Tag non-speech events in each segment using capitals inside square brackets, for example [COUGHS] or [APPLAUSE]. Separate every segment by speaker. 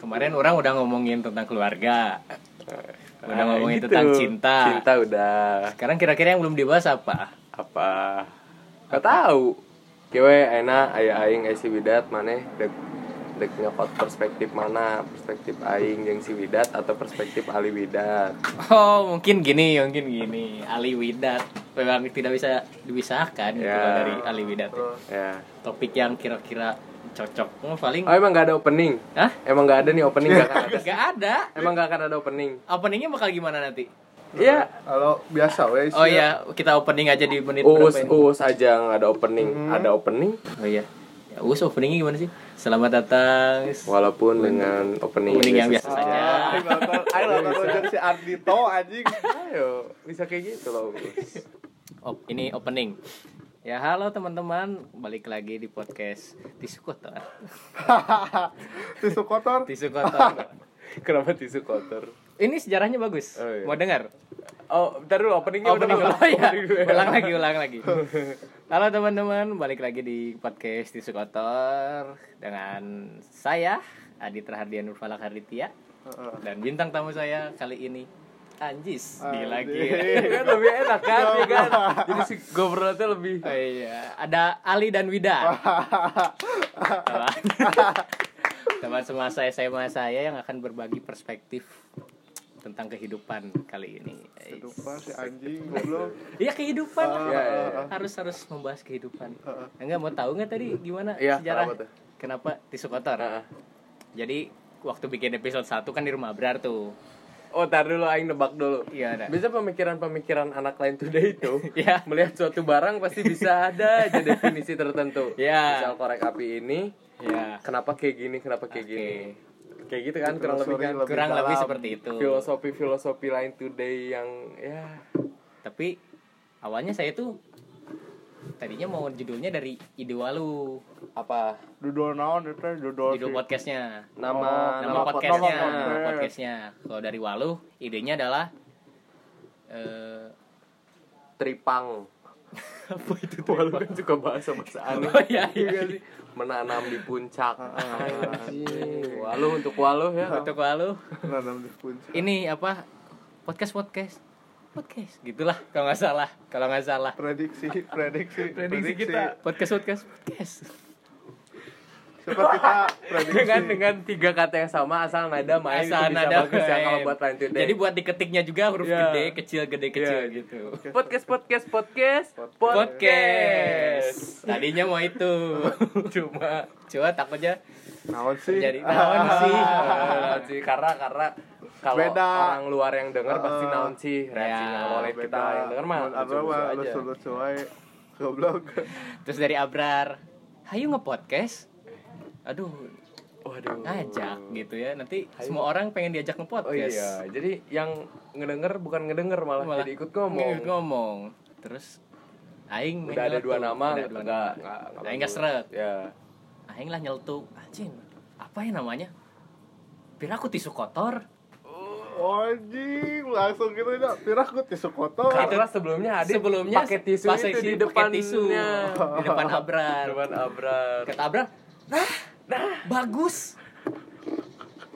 Speaker 1: kemarin orang udah ngomongin tentang keluarga udah
Speaker 2: Nah,
Speaker 1: ngomongin
Speaker 2: gitu.
Speaker 1: tentang cinta.
Speaker 2: Cinta udah
Speaker 1: sekarang kira-kira yang belum dibahas apa
Speaker 2: apa? Gak tahu. Kewe enak aya aing aya si Widat maneh dek dek nyokot perspektif mana? Perspektif aing jeung si Widat atau perspektif Ali Widat?
Speaker 1: oh mungkin gini mungkin gini Ali Widat memang tidak bisa dipisahkan gitu
Speaker 2: Ya.
Speaker 1: loh dari Ali Widat
Speaker 2: Ya.
Speaker 1: topik yang kira-kira cocok oh, paling
Speaker 2: Oh emang gak ada opening?
Speaker 1: Hah?
Speaker 2: Emang gak ada nih opening gak akan ada.
Speaker 1: nggak ada
Speaker 2: Emang gak akan ada opening?
Speaker 1: openingnya bakal gimana nanti
Speaker 2: Iya.
Speaker 3: Kalau biasa weh
Speaker 1: oh iya kita opening aja di menit
Speaker 2: Uus
Speaker 1: berapa ya?
Speaker 2: uus aja nggak ada opening. Ada opening
Speaker 1: oh iya ya, us openingnya gimana sih selamat datang
Speaker 2: walaupun dengan opening,
Speaker 1: opening yang biasa saja
Speaker 3: Aing Ya, nonton aing nonton ujung si Ardito anjing. [LAUGHS]
Speaker 2: Ayo, bisa kayak gitu loh. Uus.
Speaker 1: Oh, ini opening. Ya halo teman-teman, balik lagi di podcast Tisu Kotor.
Speaker 3: Tisu kotor.
Speaker 1: Tisu Kotor.
Speaker 2: [LAUGHS] Kenapa tisu kotor?
Speaker 1: [LAUGHS] ini sejarahnya bagus.
Speaker 2: Oh, iya.
Speaker 1: Mau dengar?
Speaker 2: Oh, bentar dulu openingnya udah
Speaker 1: Opening
Speaker 2: ulang.
Speaker 1: dulu. [LAUGHS] Oh, iya.
Speaker 2: Opening dulu ya.
Speaker 1: Ulang lagi, ulang
Speaker 2: [LAUGHS]
Speaker 1: lagi. Halo teman-teman, balik lagi di podcast Tisu Kotor dengan saya Adit Rahardian Nurfalak Harditya dan bintang tamu saya kali ini Anjis. Gila gila.
Speaker 2: [LAUGHS]
Speaker 1: [LAUGHS]
Speaker 2: Kan lebih enak kan, ya kan? Jadi si gobrolnya lebih
Speaker 1: Oh, iya, ada Ali dan Wida. Teman- Teman semasa SMA saya yang akan berbagi perspektif tentang kehidupan kali ini.
Speaker 3: [LAUGHS] Lupa si anjing goblok.
Speaker 1: Iya kehidupan lah.
Speaker 2: Iya, iya,
Speaker 1: harus harus membahas kehidupan. Enggak mau tahu nggak tadi gimana
Speaker 2: Iya,
Speaker 1: sejarah
Speaker 2: kenapa tuh?
Speaker 1: kenapa tisu kotor?
Speaker 2: Heeh.
Speaker 1: Jadi waktu bikin episode 1 kan di rumah Abrar tuh.
Speaker 2: Oh, tar dulu aing nebak dulu.
Speaker 1: Iya, ada.
Speaker 2: Bisa pemikiran-pemikiran anak lain today itu
Speaker 1: [LAUGHS] Iya.
Speaker 2: melihat suatu barang pasti bisa ada aja definisi tertentu.
Speaker 1: Iya.
Speaker 2: Misal korek api ini,
Speaker 1: Iya.
Speaker 2: kenapa kayak gini, kenapa kayak gini. Kayak gitu kan kurang lebih kan
Speaker 3: Lebih
Speaker 1: Kurang lebih
Speaker 3: dalam.
Speaker 1: seperti itu.
Speaker 2: filosofi-filosofi lain today yang ya
Speaker 1: tapi awalnya saya tuh tadinya mau judulnya dari ide walu
Speaker 2: apa
Speaker 3: Dudol naon itu dudol.
Speaker 1: judul podcastnya
Speaker 2: nama
Speaker 1: Oh, nama
Speaker 3: pod-
Speaker 1: podcastnya
Speaker 3: nama podcast.
Speaker 1: podcastnya kalau dari walu idenya adalah eh
Speaker 2: tripang
Speaker 1: apa itu tuh
Speaker 2: Walau kan suka bahasa-bahasa aneh
Speaker 1: Oh, iya, iya.
Speaker 2: Iya sih. Menanam di puncak Anjing. Waluh untuk waluh ya
Speaker 1: untuk walu
Speaker 3: Nanam di puncak.
Speaker 1: ini apa podcast podcast podcast gitulah kalau nggak salah kalau nggak salah
Speaker 2: [LAUGHS]
Speaker 3: Prediksi, prediksi,
Speaker 1: podcast podcast podcast
Speaker 3: Seperti kita prediksi.
Speaker 2: [LAUGHS] Dengan dengan tiga kata yang sama asal nada main itu
Speaker 1: Asal
Speaker 2: bisa
Speaker 1: nada
Speaker 2: bagus ya
Speaker 1: main.
Speaker 2: kalau buat lain today
Speaker 1: jadi buat diketiknya juga huruf
Speaker 2: Iya.
Speaker 1: gede kecil gede kecil
Speaker 2: Iya.
Speaker 1: gitu
Speaker 2: podcast podcast podcast
Speaker 1: podcast tadinya mau itu
Speaker 2: [LAUGHS]
Speaker 1: cuma cuma takutnya
Speaker 3: Naon sih? [LAUGHS]
Speaker 1: jadi
Speaker 2: nah,
Speaker 1: naon sih
Speaker 2: [LAUGHS] Ah, sih karena karena kalau
Speaker 3: Beda.
Speaker 2: orang luar yang dengar pasti
Speaker 3: Ah.
Speaker 2: naon sih reaksinya
Speaker 1: Ya,
Speaker 2: kalau oleh kita yang dengar mah
Speaker 3: Ada
Speaker 2: lucu-lucu
Speaker 3: mah
Speaker 2: aja.
Speaker 3: lucu-lucu aja. Goblok. [LAUGHS]
Speaker 1: terus dari Abrar hayu ngepodcast aduh
Speaker 2: Waduh.
Speaker 1: ngajak gitu ya nanti semua orang pengen diajak ngepodcast
Speaker 2: Oh iya, jadi yang ngedenger bukan ngedenger malah,
Speaker 1: Malah
Speaker 2: jadi ikut ngomong.
Speaker 1: Ikut ngomong terus aing
Speaker 2: Udah ada
Speaker 1: nyeletuk.
Speaker 2: dua nama,
Speaker 1: Udah dua
Speaker 2: enggak
Speaker 1: nama. aing nggak seret
Speaker 2: Ya.
Speaker 1: aing lah nyeletuk anjing apa ya namanya biar aku tisu kotor
Speaker 3: Oh, Anjing, langsung gitu ya. Pirakut tisu kotor.
Speaker 2: Karena sebelumnya ada
Speaker 1: sebelumnya
Speaker 2: pakai tisu
Speaker 1: pas
Speaker 2: itu
Speaker 1: isi pakai
Speaker 2: di depan
Speaker 1: tisu di depan Abrar
Speaker 2: Depan Abrar.
Speaker 1: kata Abrar nah bagus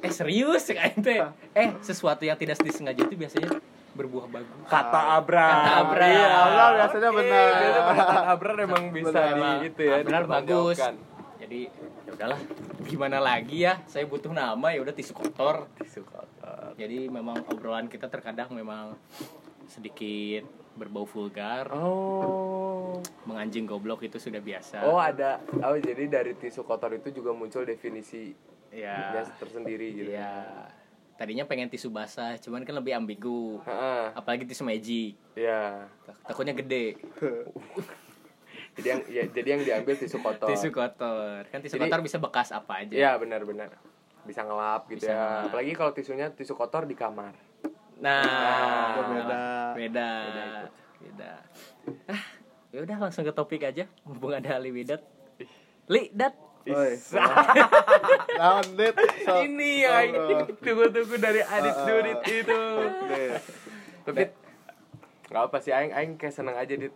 Speaker 1: eh serius ya Aing teh eh sesuatu yang tidak disengaja itu biasanya berbuah bagus
Speaker 2: Nah. Kata Abrar.
Speaker 1: Kata Abrar.
Speaker 2: Iya,
Speaker 3: Abrar biasanya
Speaker 2: Oke,
Speaker 3: benar.
Speaker 2: biasanya benar. Kata Abrar emang bisa di
Speaker 1: Sama
Speaker 2: itu ya.
Speaker 1: Abrar Ah, bagus
Speaker 2: dipertanggungjawabkan.
Speaker 1: jadi ya udahlah gimana lagi ya saya butuh nama ya udah tisu kotor
Speaker 2: Tisu kotor.
Speaker 1: jadi memang obrolan kita terkadang memang sedikit berbau vulgar
Speaker 2: Oh.
Speaker 1: menganjing goblok itu sudah biasa
Speaker 2: Oh ada, oh jadi dari tisu kotor itu juga muncul definisi
Speaker 1: ya
Speaker 2: ya tersendiri gitu.
Speaker 1: ya tadinya pengen tisu basah cuman kan lebih ambigu
Speaker 2: Heeh.
Speaker 1: apalagi tisu magic
Speaker 2: Ya.
Speaker 1: Tak- takutnya gede
Speaker 2: Jadi yang ya, jadi yang diambil tisu kotor.
Speaker 1: tisu kotor kan tisu
Speaker 2: Jadi-
Speaker 1: kotor bisa bekas apa aja
Speaker 2: Iya benar-benar bisa ngelap gitu
Speaker 1: Bisa
Speaker 2: ya.
Speaker 1: ngelap.
Speaker 2: Apalagi kalau tisunya tisu kotor di kamar.
Speaker 1: nah,
Speaker 3: beda.
Speaker 1: beda beda ah ya udah langsung ke topik aja mumpung ada Ali Widat Li Dat
Speaker 3: Woi. [LAUGHS] Naon, Dit? Sok.
Speaker 2: Ini yang tunggu-tunggu dari Adit Durit itu.
Speaker 3: Dit.
Speaker 2: Tapi nggak apa sih Aing Aing kayak seneng aja dit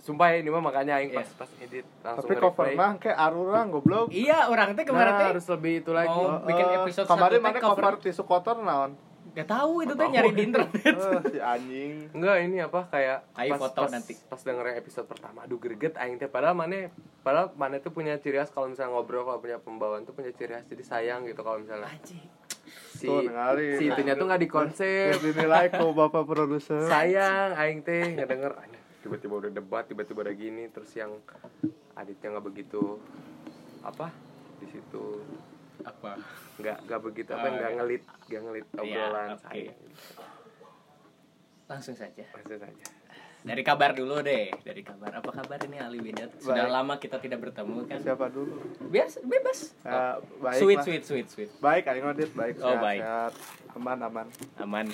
Speaker 2: sumpah ya, ini mah makanya aing pas
Speaker 1: Iya.
Speaker 2: pas edit langsung
Speaker 3: Tapi cover
Speaker 2: nge-replay.
Speaker 3: mah kayak arurang goblok.
Speaker 1: Iya, orang teh kemarin
Speaker 2: Nah,
Speaker 1: teh
Speaker 2: harus lebih itu lagi.
Speaker 1: mau bikin
Speaker 3: Eh,
Speaker 1: episode
Speaker 3: kemarin
Speaker 1: satu
Speaker 3: mana
Speaker 1: teh cover.
Speaker 3: cover tisu kotor naon?
Speaker 1: Gak tahu itu teh nyari di internet.
Speaker 3: Eh, si anjing.
Speaker 2: Enggak, ini apa kayak
Speaker 1: Ayo foto nanti.
Speaker 2: Pas dengerin episode pertama, aduh greget aing teh padahal mana padahal mana tuh punya ciri khas kalau misalnya ngobrol kalau punya pembawaan tuh punya ciri khas jadi sayang gitu kalau misalnya
Speaker 1: Anjing.
Speaker 2: si
Speaker 3: Tuh, dengerin.
Speaker 2: si itunya tuh nggak
Speaker 3: Terus
Speaker 2: dikonsep.
Speaker 3: dinilai ke bapak produser.
Speaker 2: sayang aing teh ngedenger anjing, tiba-tiba udah debat tiba-tiba udah gini terus yang aditnya nggak begitu apa di situ
Speaker 1: Apa?
Speaker 2: nggak nggak begitu apa
Speaker 1: Oh,
Speaker 2: nggak
Speaker 1: iya.
Speaker 2: ngelit nggak ngelit obrolan
Speaker 1: oke.
Speaker 2: sayang
Speaker 1: Langsung saja.
Speaker 2: maksud saja
Speaker 1: Dari kabar dulu deh. Dari kabar. Apa kabar ini Ali Widat? Sudah
Speaker 3: Baik.
Speaker 1: lama kita tidak bertemu kan?
Speaker 3: Siapa dulu?
Speaker 1: Bias, bebas.
Speaker 3: Eh, baik
Speaker 1: sweet,
Speaker 3: lah.
Speaker 1: sweet, sweet, sweet.
Speaker 3: Baik, aing audit baik.
Speaker 1: Oh,
Speaker 3: sehat,
Speaker 1: baik.
Speaker 3: sehat. Aman, aman.
Speaker 1: Aman.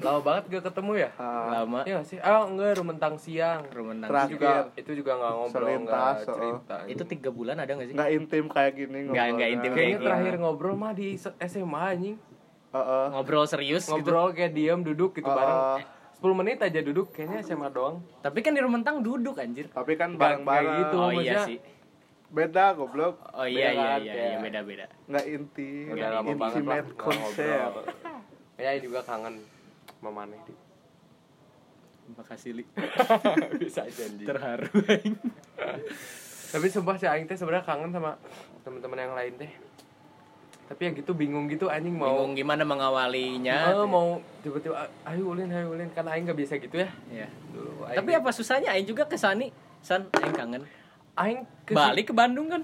Speaker 2: lama banget gak ketemu ya
Speaker 3: Eh,
Speaker 1: Lama.
Speaker 2: Iya gak sih? Ah enggak, rumentang siang.
Speaker 1: Rumenang.
Speaker 3: Terakhir.
Speaker 2: Juga itu juga nggak ngobrol, nggak
Speaker 3: Selintas, oh.
Speaker 2: cerita.
Speaker 1: Itu tiga bulan ada gak sih?
Speaker 3: nggak intim kayak gini
Speaker 1: Nggak-
Speaker 3: ngobrolnya.
Speaker 1: nggak intim
Speaker 2: kayaknya
Speaker 1: Kayak
Speaker 2: terakhir ngobrol mah di se- SMA anjing.
Speaker 3: Heeh.
Speaker 1: Ngobrol serius gitu.
Speaker 2: Ngobrol kayak diam duduk gitu
Speaker 3: Oh, oh.
Speaker 2: bareng. 10 menit aja duduk kayaknya SMA doang.
Speaker 1: Tapi kan di Rumentang duduk anjir. Gitu,
Speaker 3: Tapi kan
Speaker 2: Nggak-
Speaker 3: bareng-bareng
Speaker 2: nggak gitu.
Speaker 1: Oh
Speaker 2: maksudnya-
Speaker 1: iya sih.
Speaker 3: Beda goblok.
Speaker 1: Oh iya iya
Speaker 2: Beda
Speaker 1: iya,
Speaker 2: kan,
Speaker 1: iya
Speaker 2: ya.
Speaker 1: beda beda.
Speaker 3: Nggak intim.
Speaker 2: Udah lama banget lah
Speaker 3: Intimate
Speaker 2: nggak
Speaker 3: konsep.
Speaker 2: ngobrol. Kayaknya juga kangen sama Maneh Dit.
Speaker 1: Makasih [LAUGHS] Li.
Speaker 2: Bisa aja anjing.
Speaker 1: Terharu. [LAUGHS]
Speaker 2: Tapi sumpah sih aing teh sebenarnya kangen sama teman-teman yang lain teh. Tapi ya gitu bingung gitu anjing mau
Speaker 1: Bingung gimana mengawalinya.
Speaker 2: Eh, mau tiba-tiba ayo ulin ayo ulin karena aing nggak biasa gitu ya
Speaker 1: Iya.
Speaker 2: dulu aing
Speaker 1: Tapi apa susahnya aing juga ke Sani. San aing kangen.
Speaker 2: aing ke-
Speaker 1: Balik ke Bandung kan?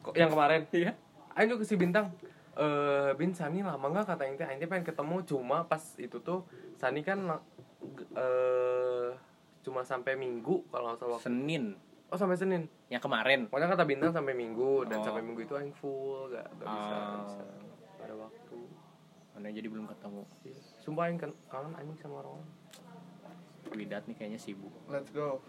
Speaker 2: Kok yang kemarin?
Speaker 1: Iya.
Speaker 2: Aing tuh ke si Bintang. Eh, Bin Sani lama nggak kata Aing teh? Aing teh pengen ketemu cuma pas itu tuh Sani kan la- g- eh cuma sampai Minggu kalau nggak salah. waktu-
Speaker 1: Senin
Speaker 2: Oh sampai Senin.
Speaker 1: yang kemarin.
Speaker 2: Pokoknya kata Bintang sampai Minggu dan
Speaker 1: Oh.
Speaker 2: sampai Minggu itu Aing full nggak nggak bisa
Speaker 3: Oh.
Speaker 2: nggak bisa. Nggak ada waktu.
Speaker 1: Mana jadi belum ketemu.
Speaker 2: Iya. Sumpah Aing kan- kangen Aing sama orang.
Speaker 1: Widat nih kayaknya sibuk.
Speaker 3: Let's go.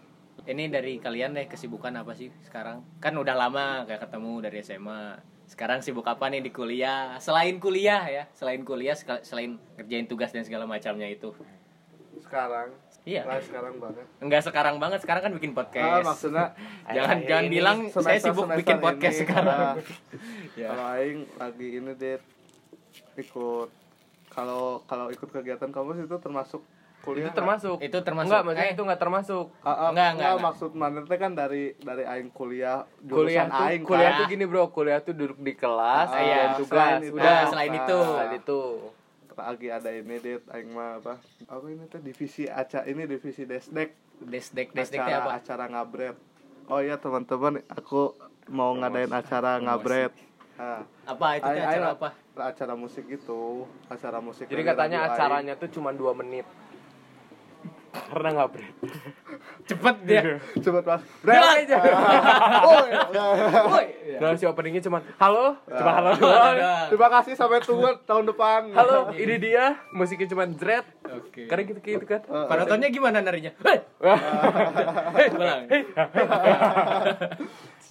Speaker 1: Ini dari kalian deh kesibukan apa sih sekarang? Kan udah lama kayak ketemu dari SMA. Sekarang sibuk apa nih di kuliah? Selain kuliah ya, selain kuliah, sekal- selain ngerjain tugas dan segala macamnya itu.
Speaker 3: Sekarang.
Speaker 1: Iya.
Speaker 3: Lah, sekarang banget.
Speaker 1: Enggak sekarang banget, sekarang kan bikin
Speaker 3: Ah,
Speaker 1: podcast.
Speaker 3: maksudnya
Speaker 1: jangan
Speaker 2: Akhir-akhir
Speaker 1: jangan
Speaker 2: ini
Speaker 1: bilang [LAUGHS] saya
Speaker 3: semester-
Speaker 1: sibuk
Speaker 3: semester
Speaker 1: bikin podcast
Speaker 3: ini,
Speaker 1: sekarang.
Speaker 3: ah,
Speaker 1: Ya.
Speaker 3: [LAUGHS] Kalau aing lagi ini deh ikut kalau kalau ikut kegiatan kampus itu termasuk kuliah.
Speaker 2: Itu termasuk.
Speaker 1: Itu termasuk.
Speaker 2: Enggak, maksudnya
Speaker 1: Eh.
Speaker 2: itu nggak termasuk.
Speaker 3: Ah, ah,
Speaker 1: Enggak, enggak,
Speaker 3: enggak,
Speaker 1: enggak.
Speaker 3: maksud mana teh kan dari dari aing kuliah
Speaker 2: Kuliah
Speaker 3: jurusan
Speaker 2: tuh,
Speaker 3: aing
Speaker 2: kuliah
Speaker 3: kan.
Speaker 2: tuh gini bro, kuliah tuh duduk di kelas,
Speaker 1: Ah,
Speaker 2: kerjain
Speaker 1: iya.
Speaker 2: tugas,
Speaker 3: Selain itu.
Speaker 2: udah.
Speaker 1: Nah, selain itu.
Speaker 2: Selain itu.
Speaker 3: lagi ada ini deh aing mah apa? Apa ini teh divisi aca ini divisi desdek
Speaker 1: Desdek desdek teh
Speaker 3: acara
Speaker 1: apa?
Speaker 3: acara ngabret. Oh iya teman-teman, aku mau ngadain acara ngabret. Ah.
Speaker 1: Apa
Speaker 2: Eh,
Speaker 1: itu teh
Speaker 3: Aing-
Speaker 1: acara
Speaker 3: aing-
Speaker 1: apa?
Speaker 3: Acara musik gitu, acara musik.
Speaker 2: Jadi
Speaker 3: dari
Speaker 2: katanya
Speaker 3: radio aing.
Speaker 2: acaranya tuh cuma 2 menit. Karena nggak berat.
Speaker 1: Cepet dia.
Speaker 3: Cepet mas oh, iya. Bre-
Speaker 1: Jalan aja.
Speaker 3: Woi.
Speaker 1: [LAUGHS] Woi. Ah.
Speaker 2: Dalam Iya. Nah, si openingnya cuma halo, cuma halo.
Speaker 1: Doang.
Speaker 3: Terima kasih sampai tunggu tahun depan
Speaker 2: Halo, ini dia. Musiknya cuma dread.
Speaker 3: Iya.
Speaker 1: Oke.
Speaker 2: Karena gitu gitu kan.
Speaker 3: Eh,
Speaker 1: Penontonnya gimana narinya? Hei. Hei, ulang.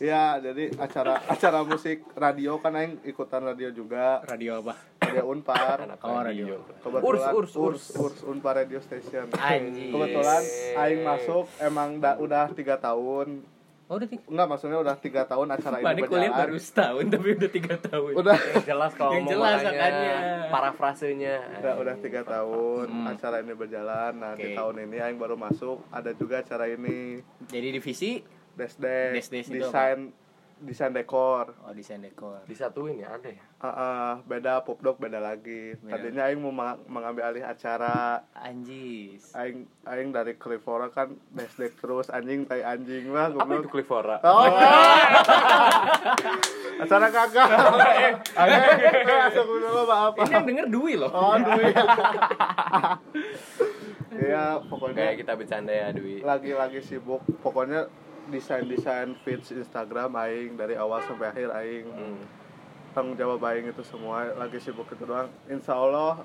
Speaker 3: Ya jadi acara acara musik radio kan Aing ikutan radio juga
Speaker 1: Radio apa?
Speaker 3: Radio Unpar
Speaker 1: Oh, radio.
Speaker 2: Urs,
Speaker 3: Kebetulan
Speaker 2: urs, urs.
Speaker 3: Urs Unpar Radio Station
Speaker 1: Anjir.
Speaker 3: Kebetulan Aing masuk emang da- udah tiga tahun
Speaker 1: Oh, udah tiga.
Speaker 3: Enggak maksudnya udah tiga tahun acara ini
Speaker 1: Mana kuliah
Speaker 3: berjalan
Speaker 1: baru setahun tapi udah tiga tahun.
Speaker 3: Udah
Speaker 2: Yang jelas kalau
Speaker 1: Yang
Speaker 2: ngomong
Speaker 1: jelas,
Speaker 2: orangnya,
Speaker 1: makanya.
Speaker 2: parafrasenya.
Speaker 3: udah, udah tiga tahun
Speaker 2: Hmm.
Speaker 3: acara ini berjalan Nah di
Speaker 1: Oke.
Speaker 3: tahun ini Aing baru masuk Ada juga acara ini
Speaker 1: Jadi divisi
Speaker 3: Desdek,
Speaker 1: Desdes itu
Speaker 3: desain desain dekor.
Speaker 1: oh desain dekor.
Speaker 2: Disatuin ya ada ya.
Speaker 3: Ah, ah, beda popdok beda lagi.
Speaker 2: Iya.
Speaker 1: Beda.
Speaker 3: Tadinya aing mau ma- mengambil alih acara
Speaker 1: Anjis.
Speaker 3: aing aing dari Clifora kan desdek terus anjing tai anjing lah
Speaker 2: Apa itu
Speaker 3: goblok.
Speaker 2: Clifora?
Speaker 3: Oh, [LAUGHS] acara
Speaker 2: [LAUGHS]
Speaker 3: kagak. [LAUGHS] Eh, eh, asal gue dulu maaf.
Speaker 1: Ini yang denger Dwi loh.
Speaker 3: Oh, duit. Iya,
Speaker 2: Kayak
Speaker 3: pokoknya
Speaker 2: kita bercanda ya Dwi.
Speaker 3: lagi-lagi sibuk. Pokoknya desain-desain feeds Instagram aing dari awal sampai akhir aing.
Speaker 2: Hmm.
Speaker 3: tanggung jawab aing itu semua lagi sibuk itu doang insya Allah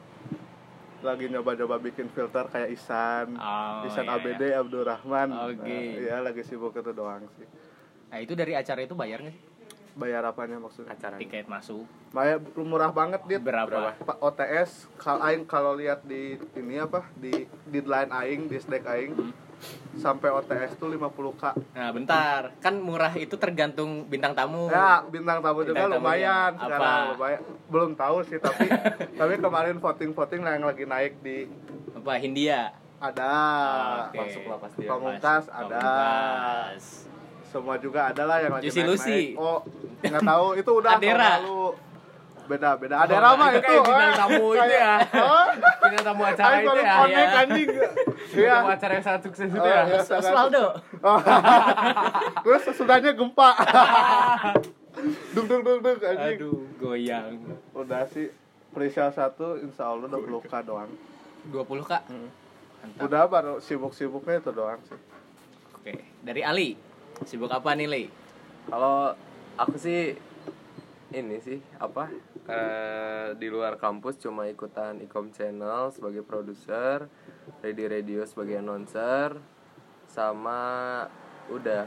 Speaker 3: lagi nyoba-nyoba bikin filter kayak Isan
Speaker 1: Oh,
Speaker 3: Isan
Speaker 1: iya, Oh, gitu.
Speaker 3: ABD Abdurrahman
Speaker 1: Oke.
Speaker 3: Nah, iya lagi sibuk itu doang sih
Speaker 1: Nah, itu dari acara itu bayar nggak sih?
Speaker 3: bayar apanya maksudnya
Speaker 2: Acara.
Speaker 1: Tiket masuk.
Speaker 3: bayar murah banget dit
Speaker 1: Berapa?
Speaker 3: Pak
Speaker 1: Hmm.
Speaker 3: OTS kalau aing kalau lihat di ini apa di di line aing di stack aing sampai OTS tuh 50k
Speaker 1: Nah, bentar. Kan murah itu tergantung bintang tamu.
Speaker 3: ya bintang tamu juga
Speaker 1: Bintang tamunya.
Speaker 3: lumayan
Speaker 1: Apa?
Speaker 3: sekarang lumayan belum tahu sih tapi
Speaker 1: [LAUGHS]
Speaker 3: tapi kemarin voting voting yang lagi naik di
Speaker 1: Apa Hindia?
Speaker 3: ada
Speaker 1: Oke.
Speaker 2: Masuklah pasti ya.
Speaker 3: pamungkas ada
Speaker 1: Pamungkas.
Speaker 3: semua juga ada lah yang lagi
Speaker 1: Juicy
Speaker 3: naik-naik.
Speaker 1: Lucy.
Speaker 3: oh nggak tahu itu udah tahun
Speaker 1: [LAUGHS] Adera.
Speaker 3: lalu beda beda Adera mah
Speaker 1: itu
Speaker 3: itu Ah,
Speaker 1: kayak bintang tamu itu
Speaker 3: Kayak-
Speaker 1: ya.
Speaker 3: oh,
Speaker 1: [LAUGHS] Bintang tamu acara
Speaker 3: Aing
Speaker 1: itu
Speaker 3: baru
Speaker 1: ya.
Speaker 3: connect
Speaker 1: ya. [LAUGHS]
Speaker 3: anjing Iya.
Speaker 2: Itu acara yang sangat sukses itu
Speaker 3: Oh,
Speaker 2: ya.
Speaker 3: iya.
Speaker 1: Osvaldo.
Speaker 3: Oh. [LAUGHS] terus sesudahnya
Speaker 1: [LAUGHS]
Speaker 3: gempa [LAUGHS] dung dung dung dung anjing
Speaker 1: Aduh, goyang.
Speaker 3: udah sih Prisha satu insya Allah 20k doang
Speaker 1: 20 Kak.
Speaker 3: udah baru sibuk-sibuknya itu doang sih
Speaker 1: Oke, dari Ali. Sibuk apa nih, Li?
Speaker 2: Kalau aku sih ini sih apa eh, di luar kampus cuma ikutan Ecom Channel sebagai produser, Ready Radio sebagai announcer, sama udah.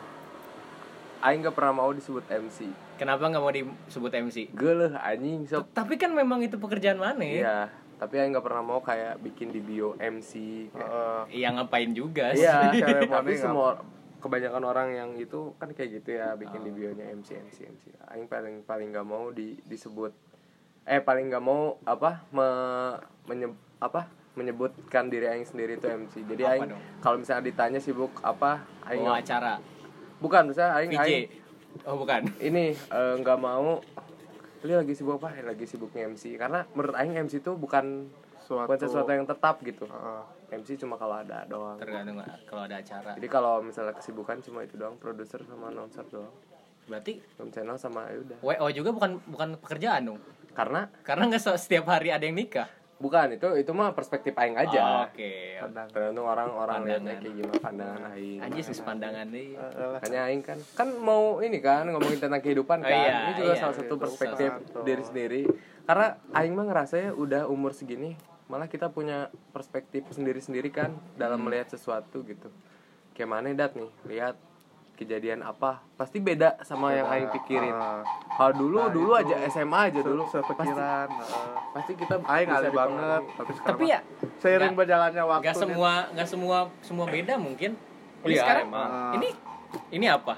Speaker 2: Aing gak pernah mau disebut MC.
Speaker 1: Kenapa nggak mau disebut MC?
Speaker 2: Geleh anjing sob.
Speaker 1: Tapi kan memang itu pekerjaan mana ya?
Speaker 2: Iya, tapi Aing gak pernah mau kayak bikin di bio MC. kayak-
Speaker 3: Heeh.
Speaker 1: Iya ngapain juga
Speaker 2: [LAUGHS]
Speaker 1: sih.
Speaker 2: Iya,
Speaker 3: Ceremony
Speaker 2: tapi
Speaker 3: nggak
Speaker 2: semua kebanyakan orang yang itu kan kayak gitu ya bikin di bionya MC MC MC. Aing paling paling nggak mau di disebut eh paling nggak mau apa me, menye- apa menyebutkan diri aing sendiri itu MC. Jadi
Speaker 1: Apa
Speaker 2: aing
Speaker 1: dong?
Speaker 2: kalau misalnya ditanya sibuk apa
Speaker 3: Iya.
Speaker 2: Oh, aing
Speaker 1: Bawa
Speaker 2: nggak-
Speaker 1: acara.
Speaker 2: bukan misalnya aing
Speaker 1: VJ.
Speaker 2: aing
Speaker 1: Oh, bukan.
Speaker 2: ini eh, nggak mau Li lagi sibuk apa? Eh, Lagi sibuk MC karena menurut aing MC itu bukan
Speaker 3: Suatu-
Speaker 2: bukan sesuatu yang tetap gitu.
Speaker 3: Heeh.
Speaker 2: MC cuma kalau ada doang.
Speaker 1: Tergantung kalau ada acara.
Speaker 2: Jadi kalau misalnya kesibukan cuma itu doang, produser sama announcer doang.
Speaker 1: Berarti
Speaker 2: Film channel sama ya udah.
Speaker 1: WO juga bukan bukan pekerjaan dong.
Speaker 2: Karena
Speaker 1: Karena nggak se- setiap hari ada yang nikah. Oh,
Speaker 2: bukan itu itu mah perspektif aing aja.
Speaker 1: Oke.
Speaker 2: Tergantung orang-orang
Speaker 1: Pandangan.
Speaker 2: lihatnya kayak gimana pandangan aing.
Speaker 1: Anjir sih pandangan nih.
Speaker 2: Hanya aing kan kan mau ini kan ngomongin tentang
Speaker 1: Oh,
Speaker 2: kehidupan kan.
Speaker 1: iya,
Speaker 2: ini juga
Speaker 1: iya.
Speaker 2: salah satu
Speaker 1: Betul,
Speaker 2: perspektif
Speaker 3: betul.
Speaker 2: diri sendiri. Karena aing mah ngerasanya udah umur segini malah kita punya perspektif sendiri-sendiri kan dalam melihat sesuatu gitu. Kayak mana dat nih, lihat kejadian apa pasti beda sama yang aing pikirin.
Speaker 3: Ah.
Speaker 2: Kalau dulu
Speaker 3: Nah,
Speaker 2: dulu
Speaker 3: itu.
Speaker 2: aja SMA aja dulu pasti
Speaker 3: sepikiran
Speaker 2: pasti kita
Speaker 3: Aing
Speaker 2: bisa
Speaker 3: ngalih
Speaker 2: dipengaruhi.
Speaker 3: banget tapi sekarang
Speaker 1: Tapi ya,
Speaker 3: mah seiring
Speaker 1: nggak-
Speaker 3: berjalannya waktu
Speaker 1: Nggak
Speaker 3: nih,
Speaker 1: semua nggak semua semua beda mungkin. Ini
Speaker 2: Iya,
Speaker 1: sekarang
Speaker 2: emang.
Speaker 1: ini ini apa?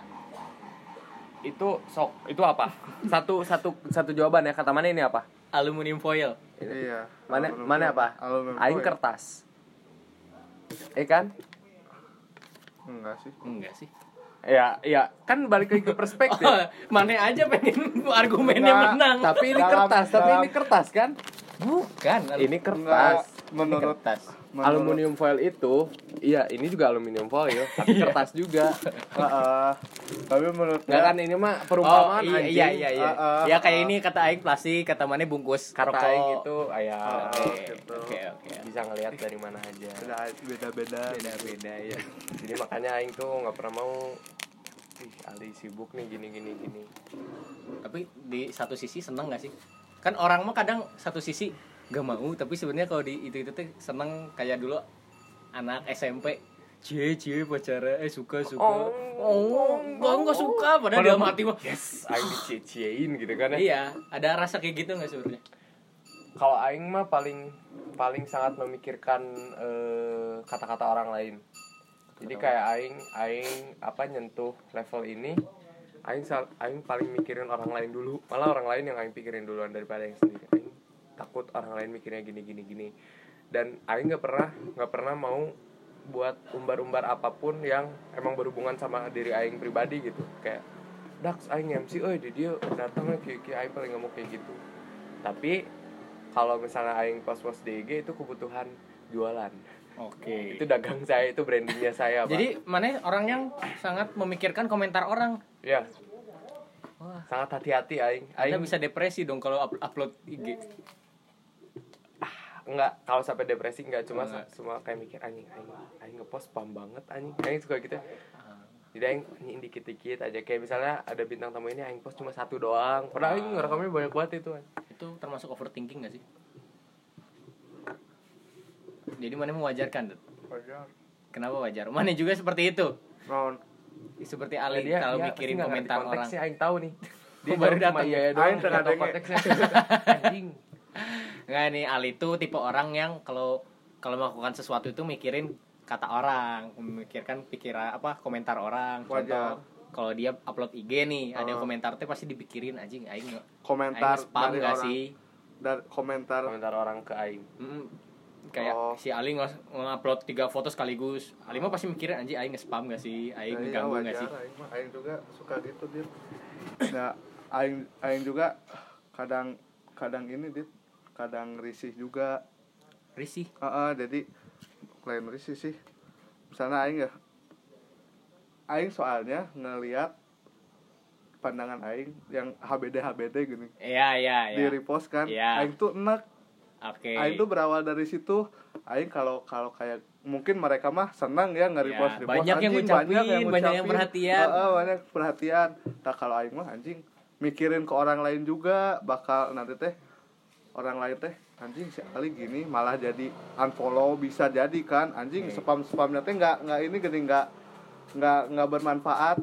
Speaker 2: itu sok itu apa satu satu satu jawaban ya kata mana ini apa
Speaker 1: Aluminium foil.
Speaker 3: iya
Speaker 2: mana
Speaker 3: Aluminium
Speaker 2: mana
Speaker 3: foil.
Speaker 2: apa
Speaker 3: Aluminium Oh, iya.
Speaker 2: aing
Speaker 3: foil.
Speaker 2: kertas eh kan
Speaker 3: enggak sih
Speaker 1: Enggak sih.
Speaker 2: ya ya kan balik lagi ke [LAUGHS] perspektif
Speaker 1: Oh, [LAUGHS] mana aja pengen [LAUGHS] argumennya
Speaker 3: Nggak,
Speaker 1: menang.
Speaker 2: tapi ini
Speaker 3: Dalam-
Speaker 2: kertas tapi
Speaker 3: dalam-
Speaker 2: ini kertas kan
Speaker 1: bukan.
Speaker 2: ini
Speaker 3: enggak
Speaker 2: kertas
Speaker 3: menurut menurut-
Speaker 2: aluminium foil itu iya ini juga aluminium [LAUGHS] foil tapi kertas juga
Speaker 3: Heeh. tapi menurut
Speaker 2: nggak kan ini mah
Speaker 1: Oh,
Speaker 2: perumpamaan
Speaker 1: iya,
Speaker 2: anjing.
Speaker 1: iya iya iya.
Speaker 3: Ah, ah,
Speaker 1: ya kayak ini kata aing plastik, kata mana bungkus
Speaker 2: kata
Speaker 1: rokok. gitu.
Speaker 2: aing itu ayah
Speaker 1: Oke,
Speaker 3: gitu.
Speaker 1: Oke oke.
Speaker 2: bisa ngelihat dari mana aja
Speaker 3: beda beda
Speaker 1: Beda
Speaker 2: iya.
Speaker 1: ya.
Speaker 2: jadi makanya aing tuh nggak pernah mau ih Ali sibuk nih gini gini gini
Speaker 1: Tapi di satu sisi seneng gak sih? Kan orang mah kadang satu sisi gak mau, tapi sebenarnya kalau di itu itu tuh seneng kayak dulu anak SMP cie cie pacara eh suka suka oh, gua nggak suka padahal dalam hati mah
Speaker 2: yes aing dicie-ciein gitu kan ya
Speaker 1: iya ada rasa kayak gitu nggak sebenarnya
Speaker 2: kalau aing mah paling paling sangat memikirkan eh, kata-kata orang lain jadi kayak aing aing apa nyentuh level ini aing sal- aing paling mikirin orang lain dulu malah orang lain yang aing pikirin duluan daripada yang sendiri aing takut orang lain mikirnya gini gini gini dan aing nggak pernah nggak pernah mau buat umbar-umbar apapun yang emang berhubungan sama diri aing pribadi gitu kayak Dax aing MC euy di dia datangnya kayak kayak aing paling nggak mau kayak gitu tapi kalau misalnya aing post-post di IG itu kebutuhan jualan
Speaker 1: oke
Speaker 2: itu dagang saya itu brandingnya saya Pak.
Speaker 1: jadi mana orang yang sangat memikirkan komentar orang
Speaker 2: ya
Speaker 1: Wah.
Speaker 2: sangat hati-hati aing aing
Speaker 1: Anda bisa depresi dong kalau up- upload IG.
Speaker 2: enggak kalau sampai depresi enggak cuma
Speaker 1: Enggak.
Speaker 2: cuma kayak mikir anjing aing aing ngepost spam banget anjing aing suka gitu jadi aing anjing dikit-dikit aja kayak misalnya ada bintang tamu ini aing post cuma satu doang pernah aing ngerekamnya banyak banget itu Aing.
Speaker 1: Itu termasuk overthinking gak sih? Jadi mana mewajarkan, Dut? Kenapa wajar? Mana juga seperti itu.
Speaker 3: non
Speaker 1: Seperti Ali kalau
Speaker 2: Ya, dia
Speaker 1: mikirin
Speaker 2: pasti nggak ngerti
Speaker 1: komentar orang.
Speaker 2: konteksnya, aing tahu nih dia
Speaker 1: Oh, baru
Speaker 2: [LAUGHS] baru datang
Speaker 1: datang.
Speaker 2: iya iya doang
Speaker 3: Aing tengah
Speaker 2: nggak tahu
Speaker 3: denge.
Speaker 2: konteksnya [LAUGHS] anjing
Speaker 1: Enggak nih, Ali tuh tipe orang yang kalau kalau melakukan sesuatu itu mikirin kata orang memikirkan pikiran apa komentar orang
Speaker 3: Wajar.
Speaker 1: contoh kalau dia upload IG nih ada
Speaker 2: Ah.
Speaker 1: yang
Speaker 3: Oh.
Speaker 1: komentar teh pasti dipikirin anjing aing nge-
Speaker 3: komentar
Speaker 1: aing spam
Speaker 3: dari
Speaker 1: gak
Speaker 3: orang
Speaker 1: sih
Speaker 3: dari komentar
Speaker 2: komentar orang ke aing
Speaker 1: Mm-mm. kayak
Speaker 3: Oh.
Speaker 1: si Ali nge- nge-upload tiga foto sekaligus Ali mah pasti mikirin anjing aing nge-spam gak sih aing
Speaker 3: Nah, iya,
Speaker 1: ngeganggu gak
Speaker 3: wajar,
Speaker 1: sih
Speaker 3: Aing mah aing juga suka gitu dit. Nah, aing aing juga kadang kadang ini dit, kadang risih juga.
Speaker 1: risih
Speaker 3: Heeh, jadi lain risih sih. Misalnya aing ya aing soalnya ngelihat pandangan aing yang HBD HBD gini.
Speaker 1: iya iya
Speaker 3: Di
Speaker 1: iya
Speaker 3: repost kan.
Speaker 1: Iya.
Speaker 3: Aing tuh enak
Speaker 1: oke
Speaker 3: Aing tuh berawal dari situ. Aing kalau kalau kayak mungkin mereka mah senang ya nggak
Speaker 1: Ya,
Speaker 3: repost repost
Speaker 1: banyak yang ngucapin, banyak yang perhatian.
Speaker 3: Heeh, banyak perhatian. Nah kalau Aing mah anjing mikirin ke orang lain juga bakal nanti teh orang lain teh anjing si Ali gini malah jadi unfollow bisa jadi kan anjing spam spamnya teh nggak nggak ini gini nggak nggak nggak bermanfaat